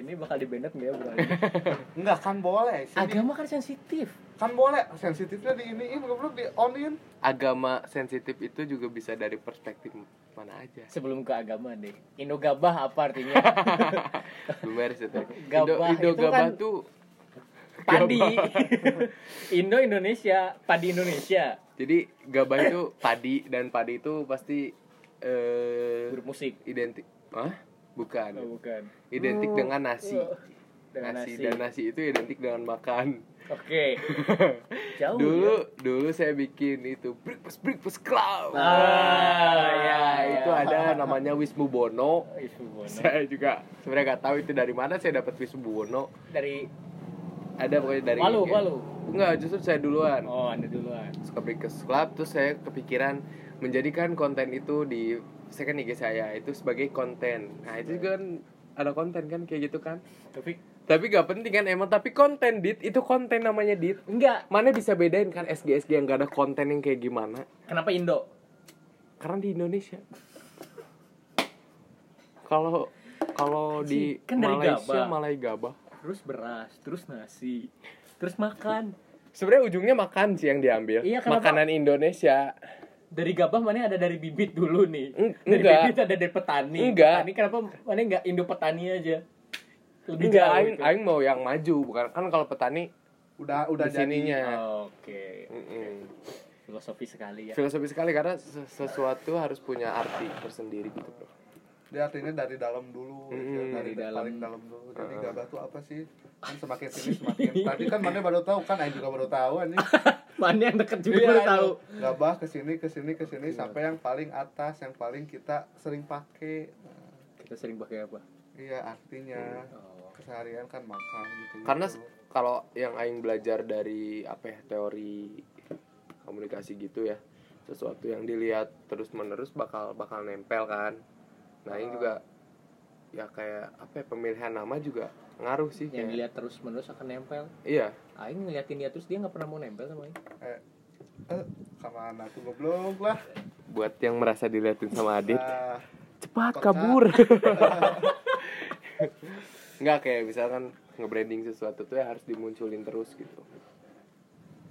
Speaker 1: Ini bakal dibendet nggak ya,
Speaker 3: [LAUGHS]
Speaker 1: Bro?
Speaker 3: Enggak kan boleh sih.
Speaker 1: Agama kan sensitif.
Speaker 3: Kan boleh sensitifnya diiniin, goblok di onin.
Speaker 2: [LAUGHS] agama sensitif itu juga bisa dari perspektif mana aja
Speaker 1: Sebelum ke agama deh. Indogabah apa
Speaker 2: [LAUGHS]
Speaker 1: artinya?
Speaker 2: belum beres itu
Speaker 1: [LAUGHS]
Speaker 2: Indo,
Speaker 1: Gabah itu
Speaker 2: Indo gabah
Speaker 1: kan-
Speaker 2: tuh
Speaker 1: Padi. [LAUGHS] Indo Indonesia, padi Indonesia.
Speaker 2: jadi gabah
Speaker 1: [COUGHS]
Speaker 2: itu padi dan padi itu pasti eh
Speaker 1: Grup musik.
Speaker 2: identik Hah? bukan
Speaker 1: Oh, bukan.
Speaker 2: identik dengan nasi
Speaker 1: Dengan
Speaker 2: nasi
Speaker 1: nasi.
Speaker 2: dan nasi itu identik dengan makan [LAUGHS]
Speaker 1: Oke. Jauh.
Speaker 2: dulu
Speaker 1: ya.
Speaker 2: dulu saya bikin itu breakfast breakfast club Nah,
Speaker 1: Ah, ya,
Speaker 2: itu
Speaker 1: ya.
Speaker 2: ada namanya Wisnu Bono [LAUGHS]
Speaker 1: Isu Bono.
Speaker 2: saya juga sebenarnya nggak tahu itu dari mana saya dapat Wisnu Bono
Speaker 1: Dari
Speaker 2: ada pokoknya dari
Speaker 1: Walu,
Speaker 2: IG.
Speaker 1: Walu.
Speaker 2: enggak justru saya duluan
Speaker 1: Oh, Anda duluan.
Speaker 2: suka breakfast club terus saya kepikiran menjadikan konten itu di second IG saya itu sebagai konten nah itu juga kan ada konten kan kayak gitu kan
Speaker 1: Tapi
Speaker 2: tapi gak penting kan emang tapi konten dit itu konten namanya dit
Speaker 1: enggak.
Speaker 2: mana bisa bedain kan SG SG yang gak ada konten yang kayak gimana
Speaker 1: Kenapa Indo?
Speaker 2: karena di Indonesia kalau kalau di
Speaker 1: Kan dari
Speaker 2: Malaysia
Speaker 1: gabah.
Speaker 2: malah gabah
Speaker 1: Terus beras, terus nasi, terus makan.
Speaker 2: sebenarnya ujungnya makan sih yang diambil
Speaker 1: Iya, kenapa?
Speaker 2: makanan Indonesia
Speaker 1: Dari gabah mana ada dari bibit dulu nih?
Speaker 2: Eng-
Speaker 1: Dari
Speaker 2: enggak.
Speaker 1: bibit ada dari petani.
Speaker 2: Enggak.
Speaker 1: Petani kenapa mana enggak Indo petani aja? Lebih
Speaker 2: enggak
Speaker 1: jauh
Speaker 2: aing
Speaker 1: itu.
Speaker 2: aing mau yang maju bukan kan kalau petani
Speaker 3: udah udah
Speaker 2: udah
Speaker 3: jadi
Speaker 2: jadinya
Speaker 1: Oke. Filosofi sekali ya.
Speaker 2: filosofi sekali karena se- sesuatu harus punya arti tersendiri gitu bro
Speaker 3: dia artinya dari dalam dulu ya, dari,
Speaker 1: dari
Speaker 3: da-
Speaker 1: dalam.
Speaker 3: paling dalam dulu jadi gabah tuh apa sih kan semakin sini
Speaker 1: [LAUGHS]
Speaker 3: semakin tadi kan mana baru tahu kan Aing juga baru tahu anjing
Speaker 1: [LAUGHS] Mana yang dekat juga
Speaker 3: Iya,
Speaker 1: baru tahu.
Speaker 3: gabah kesini kesini kesini sampai yang paling atas yang paling kita sering pakai Nah,
Speaker 1: Kita sering pakai apa?
Speaker 3: iya artinya
Speaker 1: Oh,
Speaker 3: keseharian kan makan gitu
Speaker 2: karena s- kalau yang aing belajar dari apa ya teori komunikasi gitu ya sesuatu yang dilihat terus menerus bakal bakal nempel kan nah ini juga ya kayak apa ya, pemilihan nama juga ngaruh sih
Speaker 1: Yang
Speaker 2: kayak,
Speaker 1: dilihat terus menerus akan nempel.
Speaker 2: iya
Speaker 1: Aing ngeliatin dia terus dia nggak pernah mau nempel sama Aing.
Speaker 3: eh, eh kemana tuh goblok lah
Speaker 2: buat yang merasa diliatin sama Adit
Speaker 3: Nah,
Speaker 2: cepat
Speaker 3: Kocak.
Speaker 2: kabur [LAUGHS] nggak kayak misalkan nge-branding sesuatu tuh ya harus dimunculin terus gitu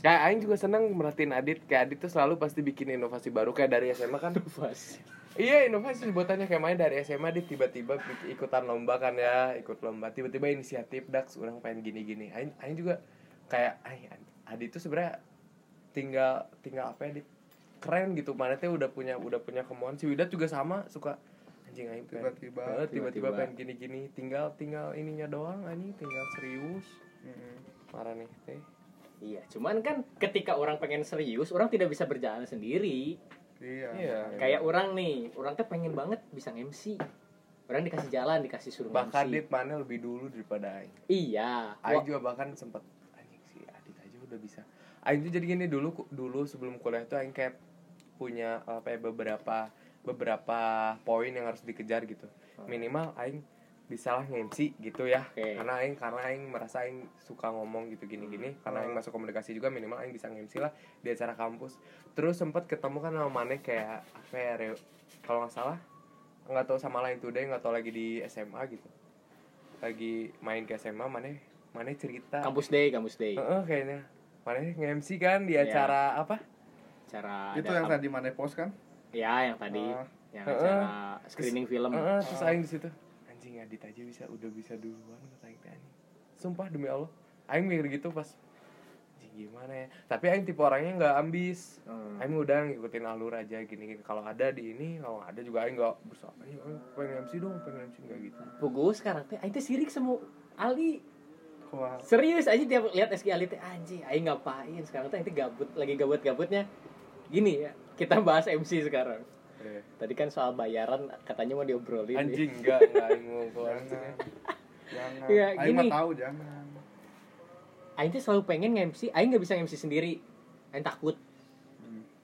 Speaker 2: kayak Aing juga seneng merhatiin Adit kayak Adit tuh selalu pasti bikin inovasi baru kayak dari SMA kan
Speaker 1: Pas.
Speaker 2: iya inovasi buatannya kayak main dari SMA Adit tiba-tiba bik- ikutan lomba kan ya ikut lomba tiba-tiba inisiatif Dax orang pengen gini-gini Aing Aing juga kayak Aing Adit tuh sebenarnya tinggal tinggal apa ya Adit keren gitu mana tuh udah punya udah punya kemauan si Widat juga sama suka anjing Aing pengen-
Speaker 3: Tiba-tiba.
Speaker 2: eh, tiba-tiba
Speaker 1: Tiba-tiba.
Speaker 2: pengen gini-gini tinggal tinggal ininya doang anjing tinggal serius
Speaker 3: mm,
Speaker 2: marah nih teh
Speaker 1: Iya, cuman kan ketika orang pengen serius, orang tidak bisa berjalan sendiri.
Speaker 3: iya
Speaker 2: Iya.
Speaker 1: Kayak orang nih, orang tuh pengen banget bisa MC. Orang dikasih jalan, dikasih suruh
Speaker 2: bahkan
Speaker 1: MC.
Speaker 2: Adit mana lebih dulu daripada Aing
Speaker 1: Iya. Wah,
Speaker 2: Aing juga bahkan sempet anjing si Adit aja udah bisa. Aing tuh jadi gini dulu ku- dulu sebelum kuliah tuh Aing kayak punya apa ya beberapa beberapa poin yang harus dikejar gitu. Minimal Aing bisalah ngemsi gitu ya.
Speaker 1: Oke.
Speaker 2: Karena Aing karena Aing merasa Aing suka ngomong gitu gini-gini. Karena Aing masuk komunikasi juga minimal Aing bisa ngemsi lah di acara kampus. Terus sempet ketemu kan sama Mane kayak apa ya reu- kalau nggak salah nggak tahu sama lain today nggak tahu lagi di SMA gitu lagi main ke SMA mana mana cerita
Speaker 1: Kampus Day, Kampus Day.
Speaker 2: Heeh, kayaknya mana nge-MC kan di
Speaker 1: Iya.
Speaker 2: acara apa
Speaker 1: Cara
Speaker 3: itu
Speaker 1: ada
Speaker 3: yang
Speaker 1: kam-
Speaker 3: tadi mana post kan
Speaker 1: Ya, yang tadi
Speaker 3: Ah.
Speaker 1: yang
Speaker 2: Heeh.
Speaker 1: acara screening film.
Speaker 2: Heeh, terus aing di situ anjing Adit aja bisa udah bisa duluan kata aing teh, anjing. sumpah demi Allah aing mikir gitu pas anjing gimana ya tapi aing tipe orangnya nggak ambis
Speaker 1: Hmm.
Speaker 2: aing udah ngikutin alur aja gini, -gini. kalau ada di ini kalau nggak ada juga aing nggak berusaha "Ayo, ayo, pengen MC dong pengen MC nggak gitu
Speaker 1: Pugu sekarang teh aing teh sirik sama Ali. [LAUGHS]
Speaker 3: Wah,
Speaker 1: Serius aja tiap lihat SG Ali teh anjing, aing ngapain sekarang teh aing teh gabut, lagi gabut-gabutnya. Gini ya, kita bahas MC sekarang.
Speaker 2: Eh,
Speaker 1: Tadi kan soal bayaran katanya mau diobrolin.
Speaker 2: anjing nggak nggak aing mau keluar
Speaker 3: jangan jangan
Speaker 1: Iya,
Speaker 3: Aing mah
Speaker 1: gini.
Speaker 3: tahu jangan
Speaker 1: Aing tuh selalu pengen nge-MC, Aing nggak bisa nge-MC sendiri. Aing takut.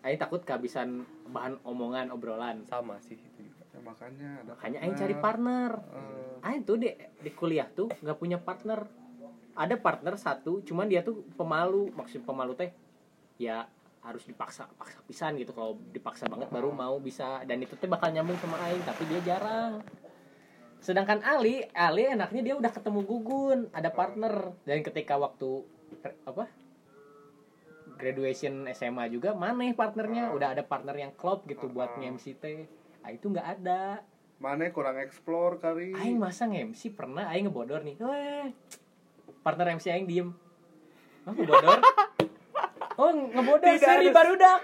Speaker 1: Aing takut kehabisan bahan omongan, obrolan.
Speaker 2: sama sih itu juga
Speaker 3: ya, makanya ada
Speaker 1: Makanya Aing cari partner.
Speaker 3: Eh,
Speaker 1: Aing tuh di, Nah, di kuliah tuh nggak punya partner. Ada partner satu, cuman dia tuh pemalu. Maksud pemalu teh, ya harus dipaksa, paksa pisan gitu. Kalau dipaksa banget baru mau bisa. Dan itu teh bakal nyambung sama Aing, tapi dia jarang. Sedangkan Ali, Ali enaknya dia udah ketemu Gugun, ada partner. Dan ketika waktu apa? graduation SMA juga maneh partnernya udah ada partner yang klop gitu buat nge-MC teh. Ah itu nggak ada.
Speaker 3: mana kurang explore kali
Speaker 1: Aing masa nge-MC pernah aing ngebodor nih. Weh. Partner MC aing diem. Oh,
Speaker 2: [LAUGHS]
Speaker 1: ngebodor. oh, ngebodor
Speaker 2: Tidak
Speaker 1: seri
Speaker 2: harus.
Speaker 1: barudak.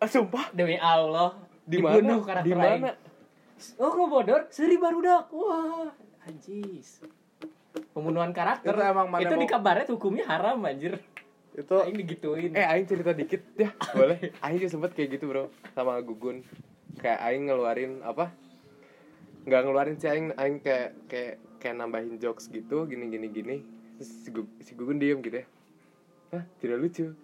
Speaker 2: ah sumpah
Speaker 1: Demi Allah,
Speaker 2: Di
Speaker 1: dibunuh
Speaker 2: mana?
Speaker 1: karakter
Speaker 2: Di mana?
Speaker 1: aing. Oh, ngebodor seri barudak. Wah, anjis. pembunuhan karakter
Speaker 3: Itu emang mana
Speaker 1: itu
Speaker 3: mau-
Speaker 1: di kabaret hukumnya haram anjir
Speaker 3: itu
Speaker 1: aing digituin
Speaker 2: Eh Aing cerita dikit
Speaker 1: [LAUGHS]
Speaker 2: ya Boleh Aing juga sempet kayak gitu bro Sama Gugun Kayak Aing ngeluarin apa Nggak ngeluarin sih Aing Aing kayak kayak, kayak nambahin jokes gitu Gini gini gini Terus si, Gu- si Gugun diem gitu ya Hah tidak lucu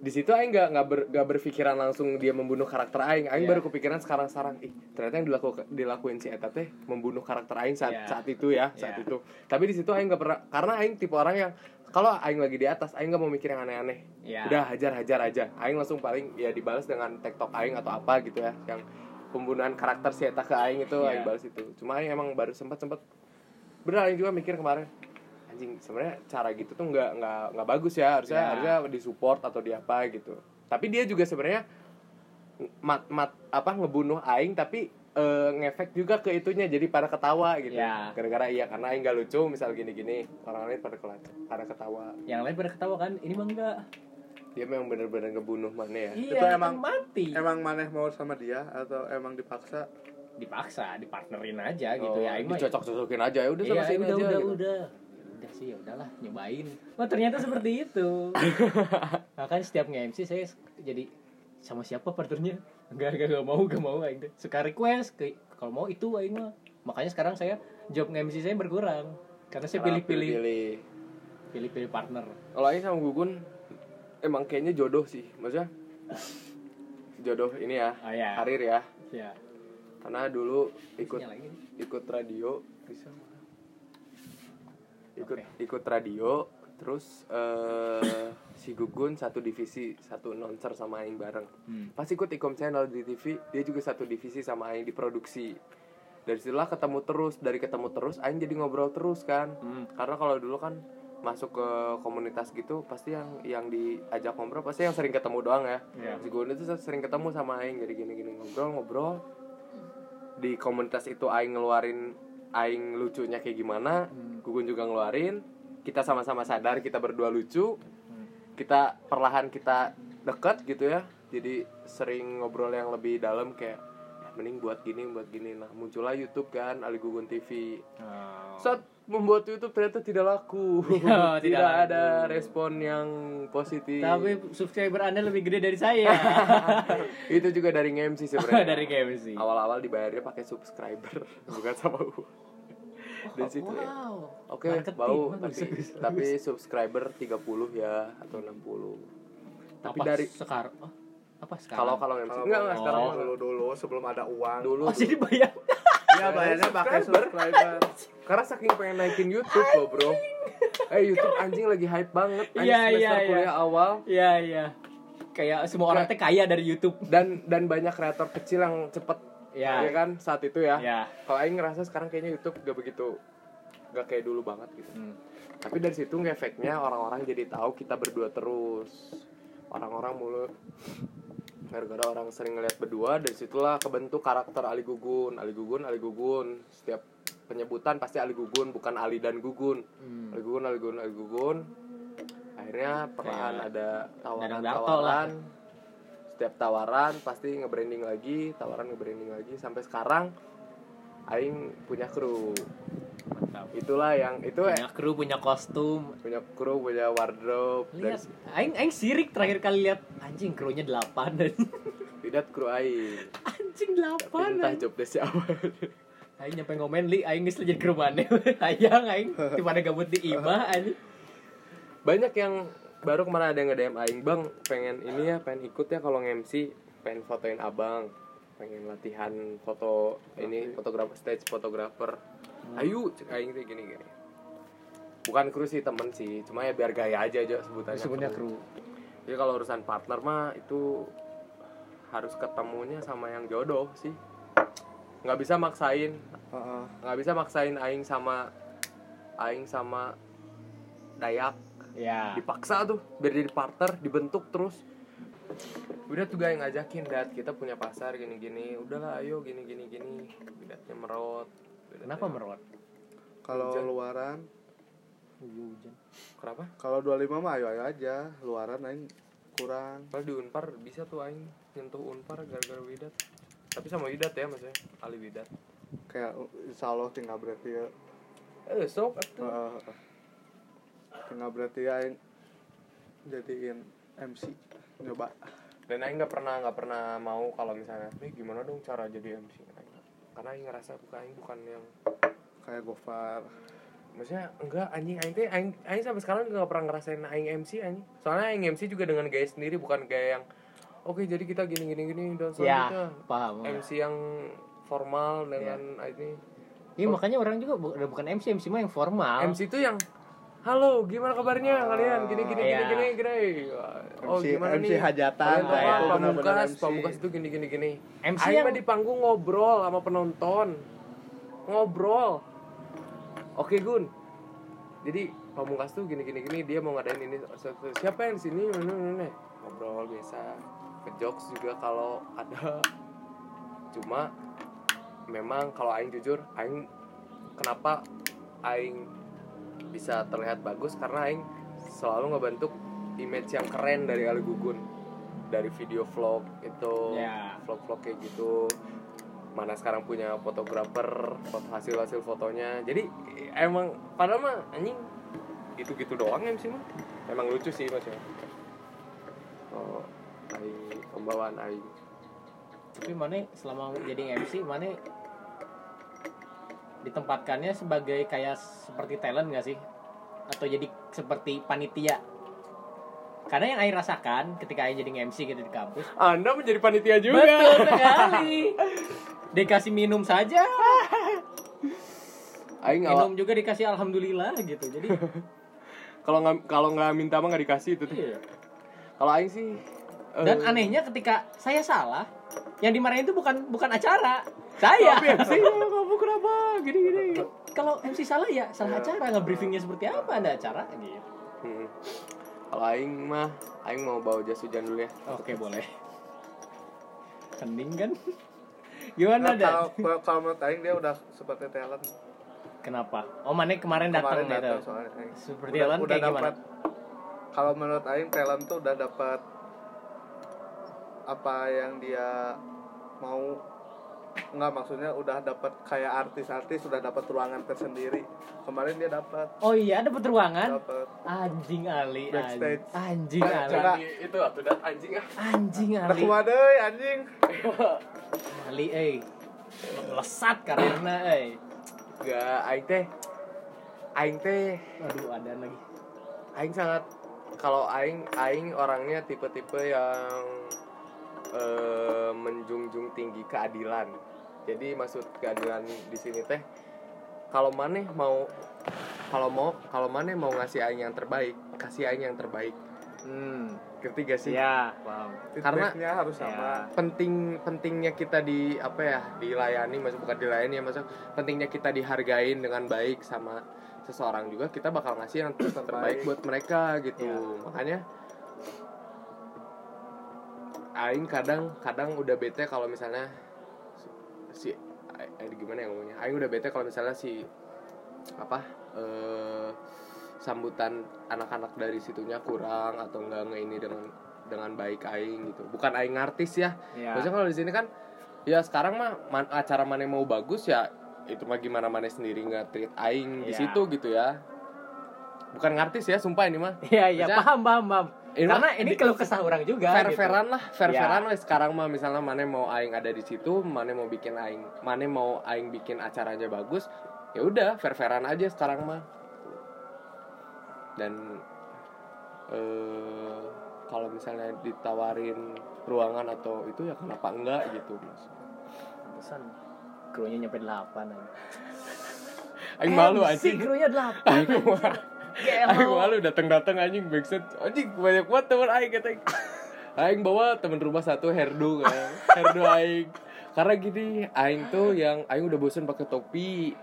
Speaker 2: di situ Aing nggak nggak ber- nggak berpikiran langsung dia membunuh karakter Aing. Aing
Speaker 1: Iya.
Speaker 2: baru kepikiran sekarang sekarang ih ternyata yang dilaku, dilakuin si Eta teh membunuh karakter Aing
Speaker 1: Iya.
Speaker 2: saat saat itu ya saat
Speaker 1: Iya.
Speaker 2: itu. Tapi di situ Aing nggak pernah karena Aing tipe orang yang kalau Aing lagi di atas Aing nggak mau mikir yang aneh-aneh.
Speaker 1: Iya.
Speaker 2: Udah hajar hajar aja. Aing langsung paling ya dibalas dengan TikTok Aing atau apa gitu ya yang pembunuhan karakter si Eta ke Aing itu
Speaker 1: Iya.
Speaker 2: Aing balas itu. Cuma Aing emang baru sempat sempat bener Aing juga mikir kemarin anjing sebenarnya cara gitu tuh nggak nggak nggak bagus ya harusnya
Speaker 1: Iya.
Speaker 2: harusnya disupport atau di apa gitu. Tapi dia juga sebenarnya mat mat apa ngebunuh aing tapi eh, ngefek juga ke itunya jadi pada ketawa gitu
Speaker 1: Ya.
Speaker 2: gara-gara iya karena aing gak lucu misal gini-gini orang lain pada kelata, pada ketawa
Speaker 1: yang lain pada ketawa kan ini mah enggak
Speaker 2: dia memang bener-bener ngebunuh mana ya
Speaker 1: iya
Speaker 3: Itu
Speaker 1: kan
Speaker 3: emang-
Speaker 1: mati
Speaker 3: emang maneh mau sama dia atau emang dipaksa
Speaker 1: dipaksa dipartnerin aja gitu
Speaker 2: Oh,
Speaker 1: ya aing mah
Speaker 2: dicocok-cocokin aja ya udah sama
Speaker 1: Iya,
Speaker 2: sini
Speaker 1: udah,
Speaker 2: aja
Speaker 1: udah,
Speaker 2: gitu.
Speaker 1: udah. Udah sih, ya udahlah nyobain. Wah, ternyata seperti itu. [LAUGHS] Makanya setiap nge-MC saya jadi sama siapa partnernya? Enggak, enggak, enggak mau, enggak mau aing teh. Suka request ke kalau mau itu aing mah. Makanya sekarang saya job nge-MC saya berkurang. Karena saya
Speaker 2: Karena
Speaker 1: pilih-pilih pilih-pilih partner.
Speaker 2: kalau aing sama gugun emang kayaknya jodoh sih maksudnya jodoh ini ya
Speaker 1: Oh, iya.
Speaker 2: karir ya
Speaker 1: Ya.
Speaker 2: karena dulu ikut
Speaker 1: Isinya lagi nih.
Speaker 2: ikut radio bisa ikut
Speaker 1: Oke.
Speaker 2: ikut radio terus eh si Gugun satu divisi satu announcer sama Aing bareng
Speaker 1: Hmm.
Speaker 2: pas ikut ikom channel di TV dia juga satu divisi sama Aing di produksi dari situlah ketemu terus dari ketemu terus Aing jadi ngobrol terus kan
Speaker 1: Hmm.
Speaker 2: karena kalau dulu kan masuk ke komunitas gitu pasti yang yang diajak ngobrol pasti yang sering ketemu doang ya
Speaker 1: Iya.
Speaker 2: si Gugun itu sering ketemu sama Aing jadi gini gini ngobrol ngobrol di komunitas itu aing ngeluarin aing lucunya kayak gimana, Gugun juga ngeluarin. Kita sama-sama sadar kita berdua lucu. Kita perlahan kita deket gitu ya. Jadi sering ngobrol yang lebih dalam kayak "Ya, mending buat gini, buat gini. Nah, muncullah YouTube kan Ali Gugun TV. Saat membuat YouTube ternyata tidak laku.
Speaker 1: Ya,
Speaker 2: tidak,
Speaker 1: tidak
Speaker 2: ada respon yang positif. [LAUGHS]
Speaker 1: Tapi subscriber Anda lebih gede dari saya.
Speaker 2: itu juga dari MC sebenarnya.
Speaker 1: [LAUGHS] Dari KFC.
Speaker 2: awal-awal dibayarnya pakai subscriber [LAUGHS] bukan sama uang dari situ ya.
Speaker 1: Wow.
Speaker 2: oke
Speaker 1: Marketing,
Speaker 2: bau
Speaker 1: bagus,
Speaker 2: tapi
Speaker 1: bagus.
Speaker 2: tapi subscriber 30 ya atau 60 tapi
Speaker 1: apa
Speaker 2: dari
Speaker 1: sekarang oh, apa sekarang?
Speaker 2: kalau kalau MC
Speaker 3: kalau
Speaker 2: enggak enggak
Speaker 1: Oh.
Speaker 2: sekarang
Speaker 1: Oh.
Speaker 3: dulu dulu sebelum ada uang
Speaker 2: dulu
Speaker 1: Oh, jadi bayar.
Speaker 3: Iya bayarnya pakai subscriber.
Speaker 2: [LAUGHS] karena saking pengen naikin YouTube loh bro eh YouTube anjing lagi hype banget anjing
Speaker 1: Iya,
Speaker 2: semester
Speaker 1: iya, iya.
Speaker 2: kuliah awal
Speaker 1: Iya, iya. Kayak semua orang teh kaya dari YouTube.
Speaker 2: dan dan banyak kreator kecil yang cepet
Speaker 1: Iya.
Speaker 2: ya kan saat itu ya
Speaker 1: Iya.
Speaker 2: kalau Aing ngerasa sekarang kayaknya YouTube gak begitu gak kayak dulu banget gitu
Speaker 1: Hmm.
Speaker 2: tapi dari situ ngefeknya orang-orang jadi tahu kita berdua terus orang-orang mulu gara-gara orang sering ngeliat berdua dari situlah kebentuk karakter Ali Gugun Ali Gugun Ali Gugun setiap penyebutan pasti Ali Gugun bukan Ali dan Gugun
Speaker 1: Hmm.
Speaker 2: Ali Gugun Ali Gugun Ali Gugun akhirnya perlahan
Speaker 1: Kayak
Speaker 2: ada
Speaker 1: Dadang
Speaker 2: tawaran
Speaker 1: Darto
Speaker 2: tawaran setiap tawaran pasti nge-branding lagi tawaran nge-branding lagi sampai sekarang Aing punya kru
Speaker 1: Mantap.
Speaker 2: itulah yang itu
Speaker 1: Punya kru, punya kostum.
Speaker 2: punya kru punya wardrobe dan
Speaker 1: Lihat, aing aing sirik terakhir kali lihat anjing krunya 8 dan
Speaker 2: lidat kru aing
Speaker 1: [LAUGHS] anjing
Speaker 2: Tapi entah
Speaker 1: 8. Aing,
Speaker 2: job desk siapa [LAUGHS]
Speaker 1: aing nyampe ngomen li aing geus jadi kru [LAUGHS] maneh. Hayang [LAUGHS] aing tiba ada gabut di imah anjing.
Speaker 2: banyak yang baru kemarin ada yang nge-DM aing bang pengen ini ya pengen ikut ya kalau nge-MC pengen fotoin abang pengen latihan foto ini fotografer stage fotografer ayo cek aing teh gini gini bukan kru sih temen sih cuma ya biar gaya aja aja sebutannya
Speaker 1: Sebutnya kru.
Speaker 2: jadi kalau urusan partner mah itu harus ketemunya sama yang jodoh sih nggak bisa maksain
Speaker 3: Heeh.
Speaker 2: nggak bisa maksain aing sama aing sama Dayak
Speaker 1: Ya.
Speaker 2: dipaksa tuh biar jadi partner dibentuk terus udah tuh yang ngajakin dat kita punya pasar gini gini udahlah ayo gini gini gini datnya merot Udatnya-
Speaker 1: Kenapa merot?
Speaker 3: Kalau
Speaker 2: Hujan.
Speaker 3: luaran,
Speaker 1: Hujan.
Speaker 2: kenapa
Speaker 3: kalau 25 mah ayo ayo aja, luaran aing kurang.
Speaker 2: kalau di unpar bisa tuh aing nyentuh unpar gara-gara widat tapi sama widat ya maksudnya ali widat
Speaker 3: Kayak uh, insya Allah tinggal berarti ya.
Speaker 1: eh sok atuh.
Speaker 3: Heeh. Tengah berarti aing jadiin MC coba.
Speaker 2: dan Aing nggak pernah nggak pernah mau kalau misalnya ini gimana dong cara jadi MC Aing nggak- karena Aing ngerasa bukan Aing bukan yang
Speaker 3: Kayak Gofar.
Speaker 2: maksudnya enggak anjing Aing teh Aing Aing sampai sekarang juga nggak pernah ngerasain Aing MC anjing soalnya Aing MC juga dengan gaya sendiri bukan gaya yang oke jadi kita gini gini gini dan
Speaker 1: ya
Speaker 2: selanjutnya
Speaker 1: paham
Speaker 2: MC gitu." yang formal dengan ini
Speaker 1: Iya makanya orang juga bu- udah bukan MC MC mah yang formal.
Speaker 2: MC itu yang halo gimana kabarnya kalian gini gini
Speaker 1: Iya.
Speaker 2: gini gini gini oh
Speaker 3: MC
Speaker 2: gimana
Speaker 3: MC
Speaker 2: nih
Speaker 3: hajatan
Speaker 2: Kalian tuh
Speaker 1: kayak
Speaker 2: apa?
Speaker 1: itu
Speaker 3: bener-bener
Speaker 2: pamungkas
Speaker 3: MC.
Speaker 2: pamungkas itu gini gini gini
Speaker 1: MC
Speaker 2: Aing
Speaker 1: yang-
Speaker 2: mah di panggung ngobrol sama penonton ngobrol oke Gun jadi pamungkas tuh gini gini gini dia mau ngadain ini satu- siapa yang di sini Ini, ini, ini. ngobrol biasa ke jokes juga kalau ada cuma memang kalau aing jujur aing kenapa aing bisa terlihat bagus karena aing selalu ngebentuk image yang keren dari Ali Gugun dari video vlog itu
Speaker 1: Ya.
Speaker 2: vlog-vlog kayak gitu mana sekarang punya fotografer foto hasil hasil fotonya jadi emang padahal mah anjing itu gitu doang MC mah emang lucu sih maksudnya oh aing pembawaan aing
Speaker 1: Tapi mana selama jadi MC mana ditempatkannya sebagai kayak seperti talent gak sih? Atau jadi seperti panitia? Karena yang Aing rasakan ketika Aing jadi MC gitu di kampus
Speaker 2: anda menjadi panitia juga
Speaker 1: Betul sekali Dikasih minum saja
Speaker 2: aing awal-
Speaker 1: Minum juga dikasih alhamdulillah gitu Jadi
Speaker 2: kalau nggak kalau nggak minta mah nggak dikasih itu tuh.
Speaker 1: iya.
Speaker 2: kalau aing sih eh,
Speaker 1: Dan anehnya ketika saya salah Yang dimarahin itu bukan bukan acara Saya
Speaker 2: tapi MC ya, kamu kenapa gini gini
Speaker 1: kalau MC salah ya salah acara nggak briefingnya seperti apa ada acara gitu
Speaker 2: Hmm. kalau aing mah aing mau bawa jas hujan dulu ya
Speaker 1: oke boleh hening kan gimana
Speaker 3: Nah,
Speaker 1: dan
Speaker 3: kalau kalau menurut aing dia udah seperti talent.
Speaker 1: kenapa oh mana kemarin datang
Speaker 3: Kemarin eh. datang
Speaker 1: gitu
Speaker 3: soalnya aing.
Speaker 1: seperti Alan kayak gimana
Speaker 3: dapat kalau menurut aing talent tuh udah dapat apa yang dia mau nggak maksudnya udah dapat kayak artis-artis sudah dapat ruangan tersendiri kemarin dia dapat
Speaker 1: oh iya dapat ruangan
Speaker 3: dapat
Speaker 1: anjing Ali an-
Speaker 3: Backstage.
Speaker 1: anjing Ali
Speaker 3: Coba.
Speaker 2: itu waktu dat anjing ah
Speaker 1: anjing Ali
Speaker 3: Rekwa deui anjing
Speaker 1: Ali eh melesat karena eh
Speaker 2: gak aing teh aing teh
Speaker 1: aduh ada lagi
Speaker 2: aing sangat kalau aing aing orangnya tipe-tipe yang eh, menjunjung tinggi keadilan. Jadi maksud keadilan di sini teh kalau maneh mau kalau mau kalau maneh mau ngasih aing yang terbaik, kasih aing yang terbaik.
Speaker 1: hmm
Speaker 2: Ngerti gak sih?
Speaker 1: ya paham
Speaker 2: Karena-
Speaker 3: feedbacknya harus
Speaker 1: ya.
Speaker 3: sama
Speaker 2: penting pentingnya kita di apa ya dilayani maksud bukan dilayani ya maksud pentingnya kita dihargain dengan baik sama seseorang juga kita bakal ngasih yang ter- terbaik buat mereka gitu
Speaker 1: Iya.
Speaker 2: makanya Aing kadang kadang udah bete kalau misalnya si A- A- gimana ya ngomongnya Aing udah bete kalau misalnya si apa eh, sambutan anak-anak dari situnya kurang atau enggak ini dengan dengan baik Aing gitu bukan Aing artis ya
Speaker 1: ya
Speaker 2: Maksudnya kalau di sini kan ya sekarang mah man- acara mana yang mau bagus ya itu mah gimana mana sendiri nggak treat aing di
Speaker 1: Iya.
Speaker 2: situ gitu ya. Bukan ngartis ya, sumpah ini mah.
Speaker 1: Iya iya
Speaker 2: Maksudnya-
Speaker 1: paham paham paham.
Speaker 2: Ini
Speaker 1: Karena
Speaker 2: mah-
Speaker 1: ini
Speaker 2: di-
Speaker 1: kalau kesah orang juga. gitu.
Speaker 2: Fair-fairan lah, fair-fairan
Speaker 1: Iya.
Speaker 2: weh. sekarang mah misalnya mana mau aing ada di situ, mana mau bikin aing, mana mau aing bikin acaranya bagus, ya udah fair-fairan aja sekarang mah. Dan eh kalau misalnya ditawarin ruangan atau itu ya kenapa enggak gitu mas.
Speaker 1: Pantesan krunya nyampe 8 aja. Eh,
Speaker 2: Aing malu
Speaker 1: MC
Speaker 2: anjing.
Speaker 1: krunya
Speaker 2: [LAUGHS]
Speaker 1: 8.
Speaker 2: Aing malu. Aing
Speaker 1: Gelo.
Speaker 2: malu datang-datang anjing backset. Anjing banyak banget teman aing kata. aing. Aing bawa teman rumah satu hairdo kan. Hairdo aing. Karena gini, aing tuh yang aing udah bosen pakai topi.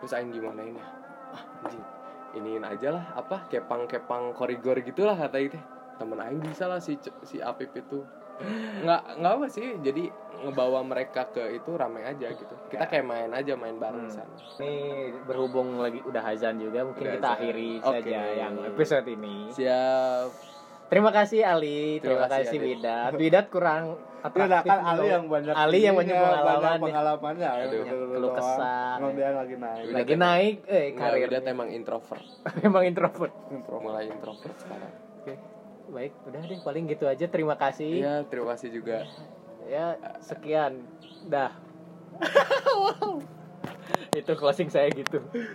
Speaker 2: Terus aing gimana ini? Ah, anjing. Iniin aja lah apa kepang-kepang korigor gitulah kata aing teh. Temen aing bisa lah si C- si Apip itu. Nggak nggak apa sih. Jadi ngebawa mereka ke itu rame aja gitu. Kita kayak main aja main bareng di sana.
Speaker 1: Ini berhubung lagi udah hazan juga mungkin
Speaker 2: Udah
Speaker 1: kita
Speaker 2: azan.
Speaker 1: akhiri
Speaker 2: Oke.
Speaker 1: saja yang episode ini.
Speaker 2: Siap.
Speaker 1: Terima kasih Ali, terima,
Speaker 2: Terima
Speaker 1: kasih,
Speaker 2: kasih, Ali.
Speaker 1: Widat. Widat kurang
Speaker 3: Udah
Speaker 1: atraktif.
Speaker 3: lah, kan Ali
Speaker 1: gitu.
Speaker 3: yang banyak
Speaker 1: Ali yang banyak
Speaker 3: ininya,
Speaker 1: pengalaman.
Speaker 3: banyak pengalamannya ya,
Speaker 2: Aduh.
Speaker 3: gitu
Speaker 1: Keluh
Speaker 3: doang.
Speaker 1: kesah.
Speaker 3: Emang dia lagi naik
Speaker 2: Widat
Speaker 1: Lagi
Speaker 2: emang-
Speaker 1: naik eh
Speaker 2: Nggak,
Speaker 1: karir.
Speaker 2: Widat emang introvert
Speaker 1: [LAUGHS] Memang introvert.
Speaker 2: mulai introvert sekarang
Speaker 1: Oke. Baik, udah deh paling gitu aja. Terima kasih.
Speaker 2: iya terima kasih juga
Speaker 1: Ya, sekian. Dah. Itu closing saya gitu.